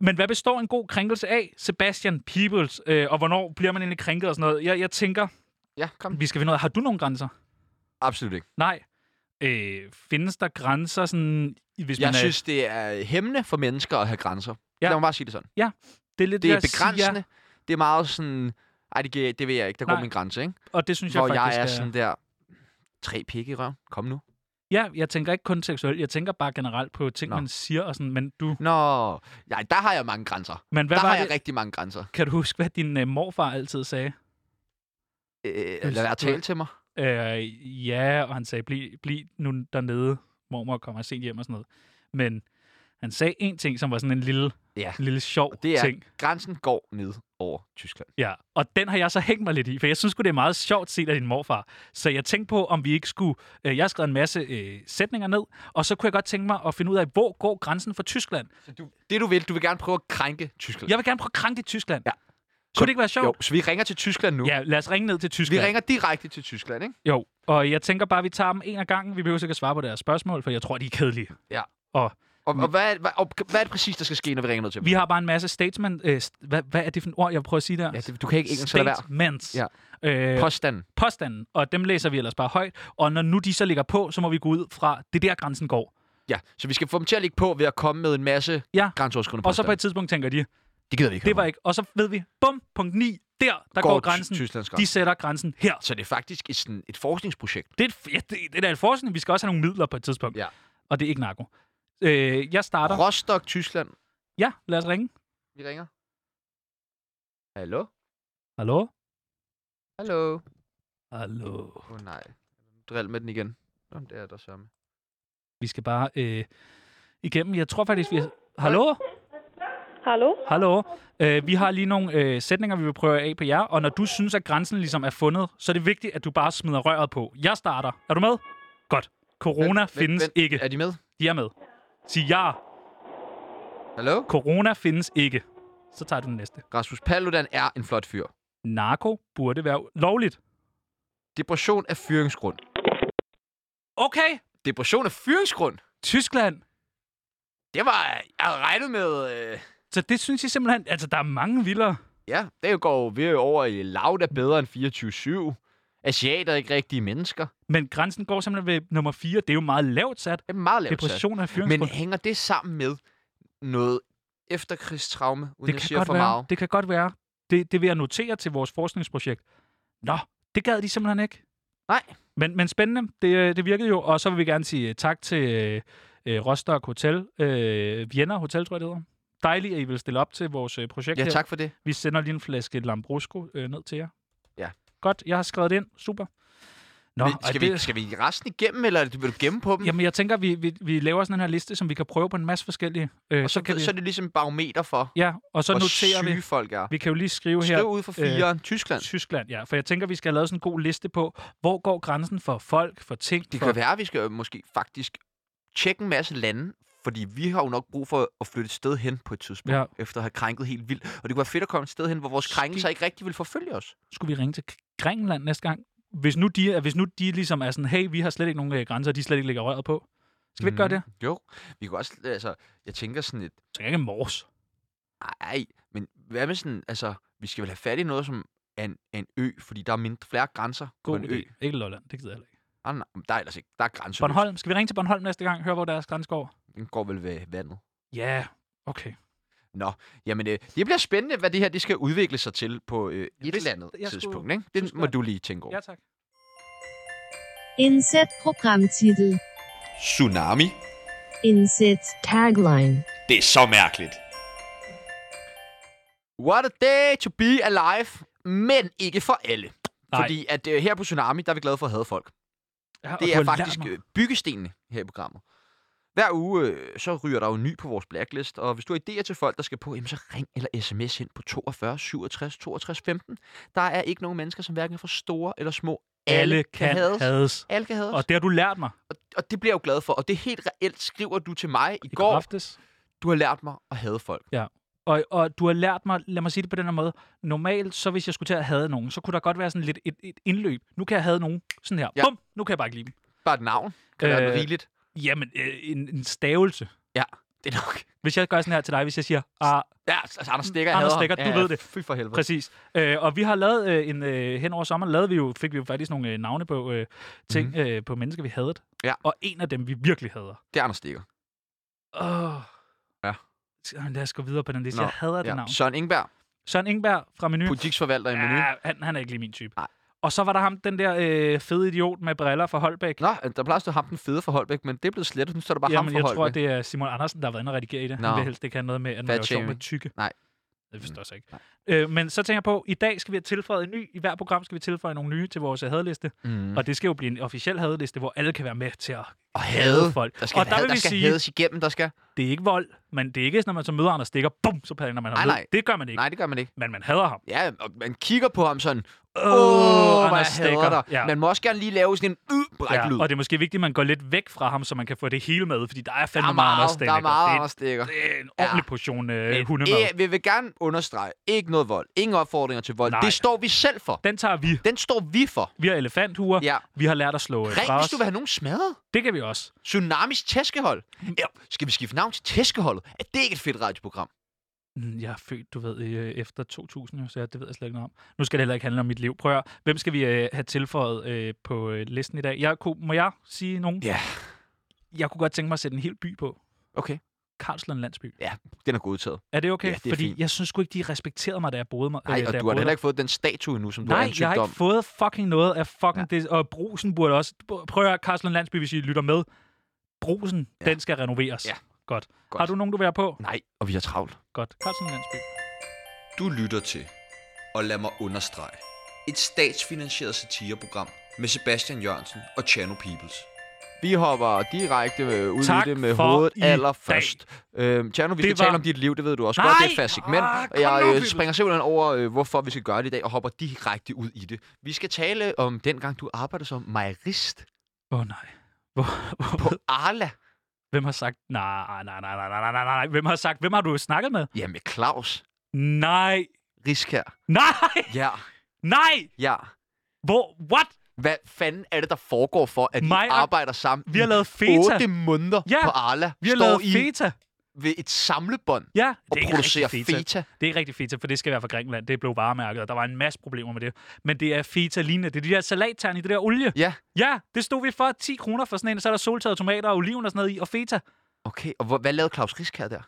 S2: Men hvad består en god krænkelse af, Sebastian Peoples? Øh, og hvornår bliver man egentlig krænket og sådan noget? Jeg, jeg tænker,
S1: Ja, kom.
S2: vi skal finde ud af, har du nogle grænser?
S1: Absolut ikke.
S2: Nej. Øh, findes der grænser sådan... Hvis
S1: Jeg
S2: man er,
S1: synes, det er hæmmende for mennesker at have grænser.
S2: øh, Ja.
S1: Ja. Lad mig bare sige det sådan.
S2: Det er lidt
S1: Det er
S2: jeg siger,
S1: begrænsende. Det er meget sådan... Ej, det, giver- det vil jeg ikke. Der går
S2: Nej.
S1: min grænse, ikke?
S2: og det synes
S1: Hvor
S2: jeg faktisk øh,
S1: jeg er sådan der... Tre pikke i røven. Kom nu.
S2: Ja, jeg tænker ikke kun seksuelt. Jeg tænker bare generelt på ting, Nå.
S1: Nå.
S2: man siger og sådan. Men, du,
S1: Nå, nej, der har jeg mange grænser.
S2: men hvad
S1: der
S2: var
S1: har
S2: det?
S1: jeg rigtig mange grænser.
S2: Kan du huske, hvad din øh, morfar altid sagde?
S1: Øh, lad være at tale til mig.
S2: Øh, ja, og han sagde, bliv, bliv nu dernede. Mormor kommer sent hjem og sådan noget. Men han sagde en ting, som var sådan en lille,
S1: Ja.
S2: en lille sjov
S1: Og det er,
S2: ting.
S1: grænsen går ned over Tyskland.
S2: Ja, og den har jeg så hængt mig lidt i, for jeg synes sgu, det er meget sjovt set af din morfar. Så jeg tænkte på, om vi ikke skulle... Øh, jeg har skrevet en masse øh, sætninger ned, og så kunne jeg godt tænke mig at finde ud af, hvor går grænsen for Tyskland?
S1: Det du vil, du vil gerne prøve at krænke Tyskland.
S2: Jeg vil gerne prøve at krænke det Tyskland.
S1: Ja.
S2: Kunne det ikke være sjovt?
S1: Jo, så vi ringer til Tyskland nu.
S2: Ja, lad os ringe ned
S1: Vi
S2: til Tyskland.
S1: ringer direkte til Tyskland, ikke?
S2: Jo, og jeg tænker bare, at vi tager dem en af gangen. Vi behøver sikkert svare på deres spørgsmål, for jeg tror, de er kedelige.
S1: Ja.
S2: Og
S1: Og, og, hvad, er- hvad, og hvad er det præcis, der skal ske, når vi ringer ned til dem?
S2: vi har bare en masse statement... Øh, st- hvad, hvad er det for et ord, jeg prøver at sige der?
S1: Ja, det, du kan ikke engelsk, så lad være.
S2: Statements.
S1: Ja.
S2: Øh,
S1: Påstanden.
S2: påstanden, og dem læser vi ellers bare højt. Og når nu de så ligger på, så må vi gå ud fra, det er der grænsen går.
S1: Ja, så vi skal få dem til at ligge på ved at komme med en masse
S2: Ja.
S1: grænseoverskridende
S2: Og så på
S1: påstande.
S2: et tidspunkt tænker de,
S1: Det gider vi ikke.
S2: det var ikke. Og så ved vi, bum, punkt 9, der, der går, går grænsen.
S1: Tysklands
S2: De
S1: grænse.
S2: sætter grænsen her.
S1: Så det er faktisk et, sådan, et forskningsprojekt.
S2: Det er, et- ja, det, det er da et forskning. Vi skal også have nogle midler på et tidspunkt.
S1: Ja.
S2: Og det er ikke narko. Øh, jeg starter.
S1: Rostock, Tyskland.
S2: Ja, lad os ringe.
S1: Vi ringer. Hallo?
S2: Hallo?
S1: Hallo?
S2: Hallo.
S1: Åh oh, nej. Drill med den igen. Nå, men det er der samme.
S2: Vi skal bare øh, igennem. Jeg tror faktisk, vi har... Hallo?
S8: Hallo?
S2: Hallo? Øh, vi har lige nogle øh, sætninger, vi vil prøve af på jer, og når du synes, at grænsen ligesom er fundet, så er det vigtigt, at du bare smider røret på. Jeg starter. Er du med? Godt. Corona
S1: Vent,
S2: findes
S1: vent,
S2: ikke.
S1: Er de med?
S2: De er med. Sig ja.
S1: Hallo?
S2: Corona findes ikke. Så tager du den næste.
S1: Rasmus Paludan er en flot fyr.
S2: Narko burde være lovligt.
S1: Depression er fyringsgrund.
S2: Okay.
S1: Depression er fyringsgrund?
S2: Tyskland.
S1: Det var... Jeg havde regnet med... Øh...
S2: Så det synes jeg simpelthen... Altså, der er mange vildere.
S1: Ja, det går vi er jo over i lav, der er bedre end 24-7. Asiater er ikke rigtige mennesker.
S2: Men grænsen går simpelthen ved nummer 4. Det er jo meget lavt sat.
S1: Det er meget lavt sat.
S2: Depression er fyringsgrund.
S1: Men hænger det sammen med noget efterkrigstraume, uden
S2: det
S1: jeg
S2: kan,
S1: siger
S2: godt
S1: for
S2: være.
S1: meget?
S2: det kan godt være. Det, det vil jeg notere til vores forskningsprojekt. Nå, det gad de simpelthen ikke.
S1: Nej.
S2: Men, men spændende, det, øh, det virkede jo. Og så vil vi gerne sige øh, tak til øh, øh, Rostock Hotel, øh, Vienna Hotel, tror jeg det hedder. Dejligt, at I vil stille op til vores øh, projekt
S1: Ja,
S2: her.
S1: tak for det.
S2: Vi sender lige en flaske Lambrusco øh, ned til jer.
S1: Ja.
S2: Godt, jeg har skrevet det ind. Super. Nå,
S1: Men
S2: ej,
S1: skal,
S2: det,
S1: vi, skal vi resten igennem, eller vil du gemme på dem?
S2: Jamen, jeg tænker, vi, vi, vi laver sådan en her liste, som vi kan prøve på en masse forskellige. Øh,
S1: og så, så,
S2: kan vi,
S1: så er det ligesom barometer for,
S2: ja, og så
S1: hvor
S2: noterer
S1: syge
S2: vi.
S1: folk er.
S2: Vi kan jo lige skrive her.
S1: Skriv ud for
S2: øh,
S1: fire øh, Tyskland.
S2: Tyskland, ja. For jeg tænker, vi skal have lavet sådan en god liste på, hvor går grænsen for folk, for ting,
S1: Det
S2: for...
S1: kan være, at vi skal måske faktisk tjekke en masse lande, fordi vi har jo nok brug for at flytte et sted hen på et tidspunkt,
S2: Ja.
S1: ja. efter at have krænket helt vildt. Og det kunne være fedt at komme et sted hen, hvor vores
S2: Ski-
S1: krænkelser ikke rigtig vil forfølge os.
S2: Skulle vi ringe til Grækenland næste gang? Hvis nu de, er- hvis nu de ligesom er sådan, hey, vi har slet ikke nogen øh, grænser, og de slet ikke lægger røret på. Skal vi ikke gøre det?
S1: Mm, Jo. Vi kunne også, altså, jeg tænker sådan et,
S2: Så kan jeg ikke mors.
S1: ej, men hvad med sådan, altså, vi skal vel have fat i noget som er en, er en ø, fordi der er mindre, flere grænser
S2: God
S1: på en ø.
S2: idé. Ikke Lolland, det gider jeg heller ikke.
S1: Ah, nej, men der er ellers ikke, der er grænser.
S2: Bornholm, skal vi ringe til Bornholm næste gang? Hør, hvor deres grænse går?
S1: Den går vel ved vandet.
S2: Ja, yeah. okay.
S1: Jamen, øh, det bliver spændende, hvad det her det skal udvikle sig til på øh, et
S2: hvis-
S1: eller andet
S2: jeg skulle-
S1: tidspunkt. Ikke? Det
S2: skulle
S1: må
S2: jeg-
S1: du lige tænke over.
S2: Ja, tak.
S4: Inset Programmtitel.
S3: Tsunami?
S4: Inset Tagline.
S3: Det er så mærkeligt.
S1: What a day to be alive, men ikke for alle.
S2: Nej.
S1: Nej. Fordi at øh, her på Tsunami, der er vi glade for at have folk.
S2: Ja, og du
S1: Det
S2: har
S1: er
S2: lært
S1: faktisk
S2: mig.
S1: øh, byggestenene her i programmet. Hver uge, øh, så ryger der jo ny på vores blacklist, og hvis du har idéer til folk, der skal på, jamen så ring eller sms ind på 42 67 62 15. Der er ikke nogen mennesker, som hverken er for store eller små.
S2: Alle kan hades.
S1: Alle kan hades.
S2: Og det har du lært mig
S1: Og, og det bliver jeg jo glad for, og det er helt reelt, skriver du til mig i
S2: i
S1: går.
S2: går aftes.
S1: Du har lært mig at hade folk.
S2: Og, og du har lært mig, lad mig sige det på den her måde, normalt, så hvis jeg skulle til at have nogen, så kunne der godt være sådan lidt et, et indløb. Nu kan jeg have nogen sådan her. Ja.
S1: Ja.
S2: Bum, nu kan jeg bare ikke lide dem.
S1: Bare et navn. Kan øh, være
S2: Øh,
S1: rigeligt.
S2: Jamen, øh, en, en stavelse.
S1: Det er nok.
S2: Hvis jeg gør sådan her til dig, hvis jeg siger, ah,
S1: Ja, altså Anders Stikker,
S2: Anders Stegger, du ved det.
S1: Fy for helvede.
S2: præcis. Øh, og vi har lavet øh, en, øh, hen over sommeren, lavede vi jo, fik vi jo faktisk nogle øh, navne på øh, ting, mm. øh, på mennesker, vi havde.
S1: Mhm. Ja.
S2: Og en af dem, vi virkelig hader.
S1: Det er Anders Stikker.
S2: Åh.
S1: Ja.
S2: Lad os gå videre på den liste.
S1: Nå,
S2: jeg hader det navn.
S1: Søren Ingberg,
S2: Søren Ingberg fra Menu.
S1: butiksforvalter i Meny.
S2: Ja, han, han er ikke lige min type.
S1: Nej.
S2: Og så var der ham, den der øh, fede idiot med briller fra Holbæk.
S1: Nå, øh, der plejer at stå ham den fede for Holbæk, men det er blevet slettet. Nu står der bare
S2: Jamen,
S1: ham for
S2: jeg tror,
S1: Holbæk.
S2: det er Simon Andersen, der har været inde og redigere i det.
S1: Nå.
S2: Han vil helst ikke have noget med, at man
S1: Fat
S2: laver sjov med
S1: shaming.
S2: tykke.
S1: Nej.
S2: Det forstår jeg så ikke. Øh, men så tænker jeg på, i dag skal vi have tilføjet en ny. I hver program skal vi tilføje nogle nye til vores øh, hadliste. Mm. Og det skal jo blive en officiel hadliste, hvor alle kan være med til at...
S1: Og
S2: Hade
S1: hade.
S2: folk.
S1: Der skal,
S2: Og der
S1: had,
S2: vil
S1: der
S2: vi
S1: skal
S2: sige-
S1: hades igennem, der skal...
S2: Det er ikke vold, men det er ikke, sådan, når man så møder andre stikker, bum, så pander man ham
S1: Nej,
S2: ned.
S1: nej.
S2: Det gør man ikke.
S1: Nej, det gør man ikke.
S2: Men man hader ham.
S1: Ja, og man kigger på ham sådan, åh,
S2: Anders
S1: hvor jeg
S2: Stegger."
S1: hader dig.
S2: Ja.
S1: Ja. Man må også gerne lige lave sådan en "Øh, ydbræk
S2: Ja,
S1: lyd.
S2: og det er måske vigtigt, at man går lidt væk fra ham, så man kan få det hele med, fordi der er
S1: der
S2: fandme
S1: er
S2: meget
S1: meget,
S2: Anders
S1: der er
S2: Stegger.
S1: meget
S2: Det er-
S1: Anders Stegger.
S2: Det er en ordentlig portion øh, hundemad.
S1: Øh, vi vil gerne understrege, ikke noget vold, ingen opfordringer til vold.
S2: Nej.
S1: Nej. Det står vi selv for.
S2: Den tager vi.
S1: Den står vi for.
S2: Vi har elefanthuer.
S1: Ja.
S2: Vi har lært at slå øh,
S1: Ring,
S2: fra
S1: hvis
S2: os.
S1: du vil have nogen smadret.
S2: Det kan vi også.
S1: Tsunamis tæskehold. Ja, skal vi skifte navn til tæskeholdet? Er det ikke et fedt radioprogram?
S2: Mm, Jeg er født, du ved, øh, efter 2000, jo, så jeg- det ved jeg slet ikke noget om. Nu skal det heller ikke handle om mit liv. Prøv at høre. Hvem skal vi øh, have tilføjet øh, på øh, listen i dag? Jeg, kunne, må jeg sige nogen?
S1: Ja.
S2: Jeg kunne godt tænke mig at sætte en hel by på.
S1: Okay.
S2: Karlslund Landsby.
S1: Ja, den er godtaget.
S2: Er det okay?
S1: Ja, det er
S2: Fordi
S1: fint.
S2: jeg synes sgu ikke, de respekterede mig, da jeg boede mig.
S1: Nej,
S2: øh,
S1: og
S2: da jeg
S1: du har
S2: boede
S1: heller
S2: der.
S1: ikke fået den statue endnu, som du har
S2: Nej, jeg
S1: ansøgt
S2: har
S1: om.
S2: ikke fået fucking noget af fucking ja. det. Og brusen burde også... Prøv at høre, Karlslund Landsby, hvis I lytter med. Brusen, ja.
S1: Ja.
S2: den skal renoveres.
S1: Ja.
S2: Godt.
S1: Godt.
S2: Har du nogen, du vil have på?
S1: Nej, og vi har travlt.
S2: Godt. Karlslund Landsby.
S9: Du lytter til, og lad mig understrege, et statsfinansieret satireprogram med Sebastian Jørgensen og Chano Peoples.
S1: Vi hopper direkte øh, ud
S2: Tak
S1: i det med
S2: for
S1: hovedet
S2: i
S1: allerførst. Øhm, Tjerno, vi
S2: Det
S1: skal tale
S2: var-
S1: om dit liv, det ved du også
S2: Nej!
S1: godt. Det er et fast segment.
S2: Ah,
S1: og jeg
S2: kom nu,
S1: øh,
S2: Philip.
S1: springer simpelthen over, øh, hvorfor vi skal gøre det i dag, og hopper direkte ud i det. Vi skal tale om dengang, du arbejdede som mejerist
S2: Åh oh, nej. Hvor,
S1: på
S2: hvor,
S1: Arla.
S2: hvem har sagt... Nej, nej, nej, nej, nej, nej, nej, nej. Hvem har sagt... Hvem har du snakket med?
S1: Ja, med Claus
S2: Nej.
S1: Riskær.
S2: Nej!
S1: Ja,
S2: Nej!
S1: ja.
S2: Hvor? What?
S1: Hvad fanden er det, der foregår for, at
S2: Mig
S1: I
S2: og-
S1: arbejder sammen
S2: Vi har
S1: i
S2: lavet feta.
S1: 8 måneder
S2: Ja,
S1: på Arla?
S2: Vi har
S1: står
S2: lavet
S1: I
S2: feta.
S1: ved et samlebånd
S2: Ja,
S1: og
S2: det er ikke
S1: producerer
S2: rigtig
S1: feta. feta.
S2: Det er ikke rigtig feta, for det skal være fra Grækenland. Det blev varemærket, og der var en masse problemer med det. Men det er feta-lignende. Det er de der salattern i det der olie.
S1: Ja.
S2: Ja, det stod vi for 10 kroner for sådan en, og så er der soltørrede tomater og oliven og sådan noget i, og feta.
S1: Okay, og hvor, hvad lavede Claus Riskær der?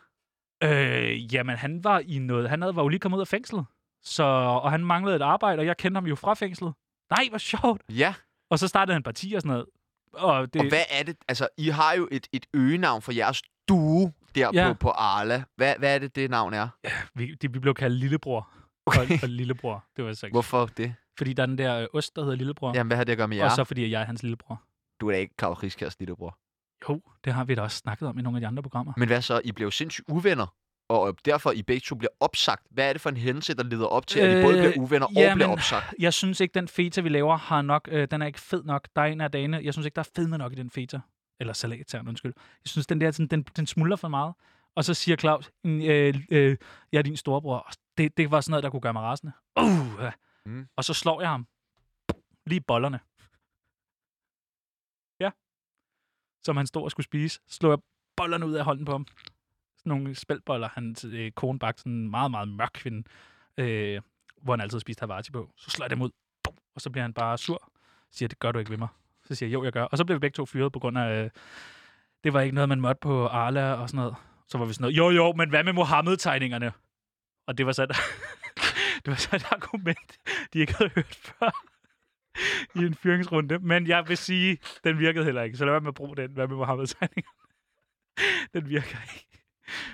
S2: Øh, jamen, han var i noget. Han havde, var jo lige kommet ud af fængslet. Så, og han manglede et arbejde, og jeg kendte ham jo fra fængslet. Nej, hvor sjovt.
S1: Ja,
S2: Og så startede han parti og sådan noget. Og, det,
S1: og hvad er det? Altså, I har jo et, et øgenavn for jeres duo der
S2: Ja.
S1: ja. på, på Arla. Hvad, hvad er det, det navn er?
S2: vi, det, vi blev kaldt Lillebror. Okay. Og, og, Lillebror, det var så ikke.
S1: Hvorfor det?
S2: Fordi der er den der øh, ost, der hedder Lillebror.
S1: Jamen, hvad har det at gøre med jer?
S2: Og så fordi jeg er hans lillebror.
S1: Du er da ikke Claus Riskærs lillebror.
S2: Jo, det har vi da også snakket om i nogle af de andre programmer.
S1: Men hvad så? I blev sindssygt uvenner, og øh, derfor I begge to bliver opsagt. Hvad er det for en hændelse, der leder op til, at I både
S2: Øh,
S1: bliver uvenner og
S2: jamen,
S1: bliver opsagt?
S2: Jeg synes ikke, den feta, vi laver, har nok, øh, den er ikke fed nok. Der er en af dagene, jeg synes ikke, der er fedme nok i den feta. Eller salattern, undskyld. Jeg synes, den der, sådan, den, den smuldrer for meget. Og så siger Claus, "Mm, øh, øh, jeg er din storebror. Og Det, det var sådan noget, der kunne gøre mig rasende. Uh, ja.
S1: Mm.
S2: Og så slår jeg ham. Lige i bollerne. Ja. Som han stod og skulle spise. Slår jeg bollerne ud af hånden på ham. Sådan nogle spældboller, han øh, kone bagte sådan en meget, meget mørk kvinde. Øh, hvor han altid spiste Havarti på. Så slår jeg dem ud, Bum! og så bliver han bare sur. Siger, det gør du ikke ved mig. Så siger jeg, jo, jeg gør. Og så blev vi begge to fyret på grund af, øh, det var ikke noget, man måtte på Arla og sådan noget. Så var vi sådan noget, jo, jo, men hvad med Mohammed-tegningerne? Og det var så et, det var så et argument, de ikke havde hørt før i en fyringsrunde. Men jeg vil sige, den virkede heller ikke. Så lad være med at bruge den. Hvad med Mohammed-tegningerne? Den virker ikke.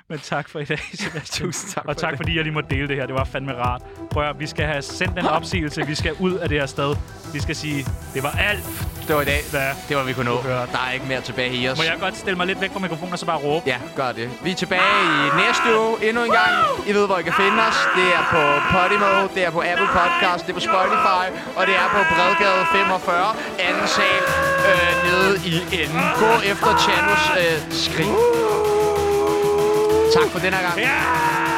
S2: Men tak for i dag, Sebastian.
S1: tak
S2: Og tak fordi jeg lige måtte dele det her. Det var fandme rart. Prøv at, høre, vi skal have sendt den opsigelse. Vi skal ud af det her sted. Vi skal sige, det var alt,
S1: Det var i dag.
S2: der...
S1: Det var vi kunne nå.
S2: Uhørt.
S1: Der er ikke mere tilbage i os.
S2: Må jeg godt stille mig lidt væk fra mikrofonen og så bare råbe?
S1: Ja, gør det. Vi er tilbage i næste uge endnu en gang. I ved, hvor I kan finde os. Det er på Podimo, det er på Apple Podcast, det er på Spotify, og det er på Bredgade 45, anden sal øh, nede i enden. Gå efter Chanos øh, skrig. Tak for den her gang.
S2: Ja!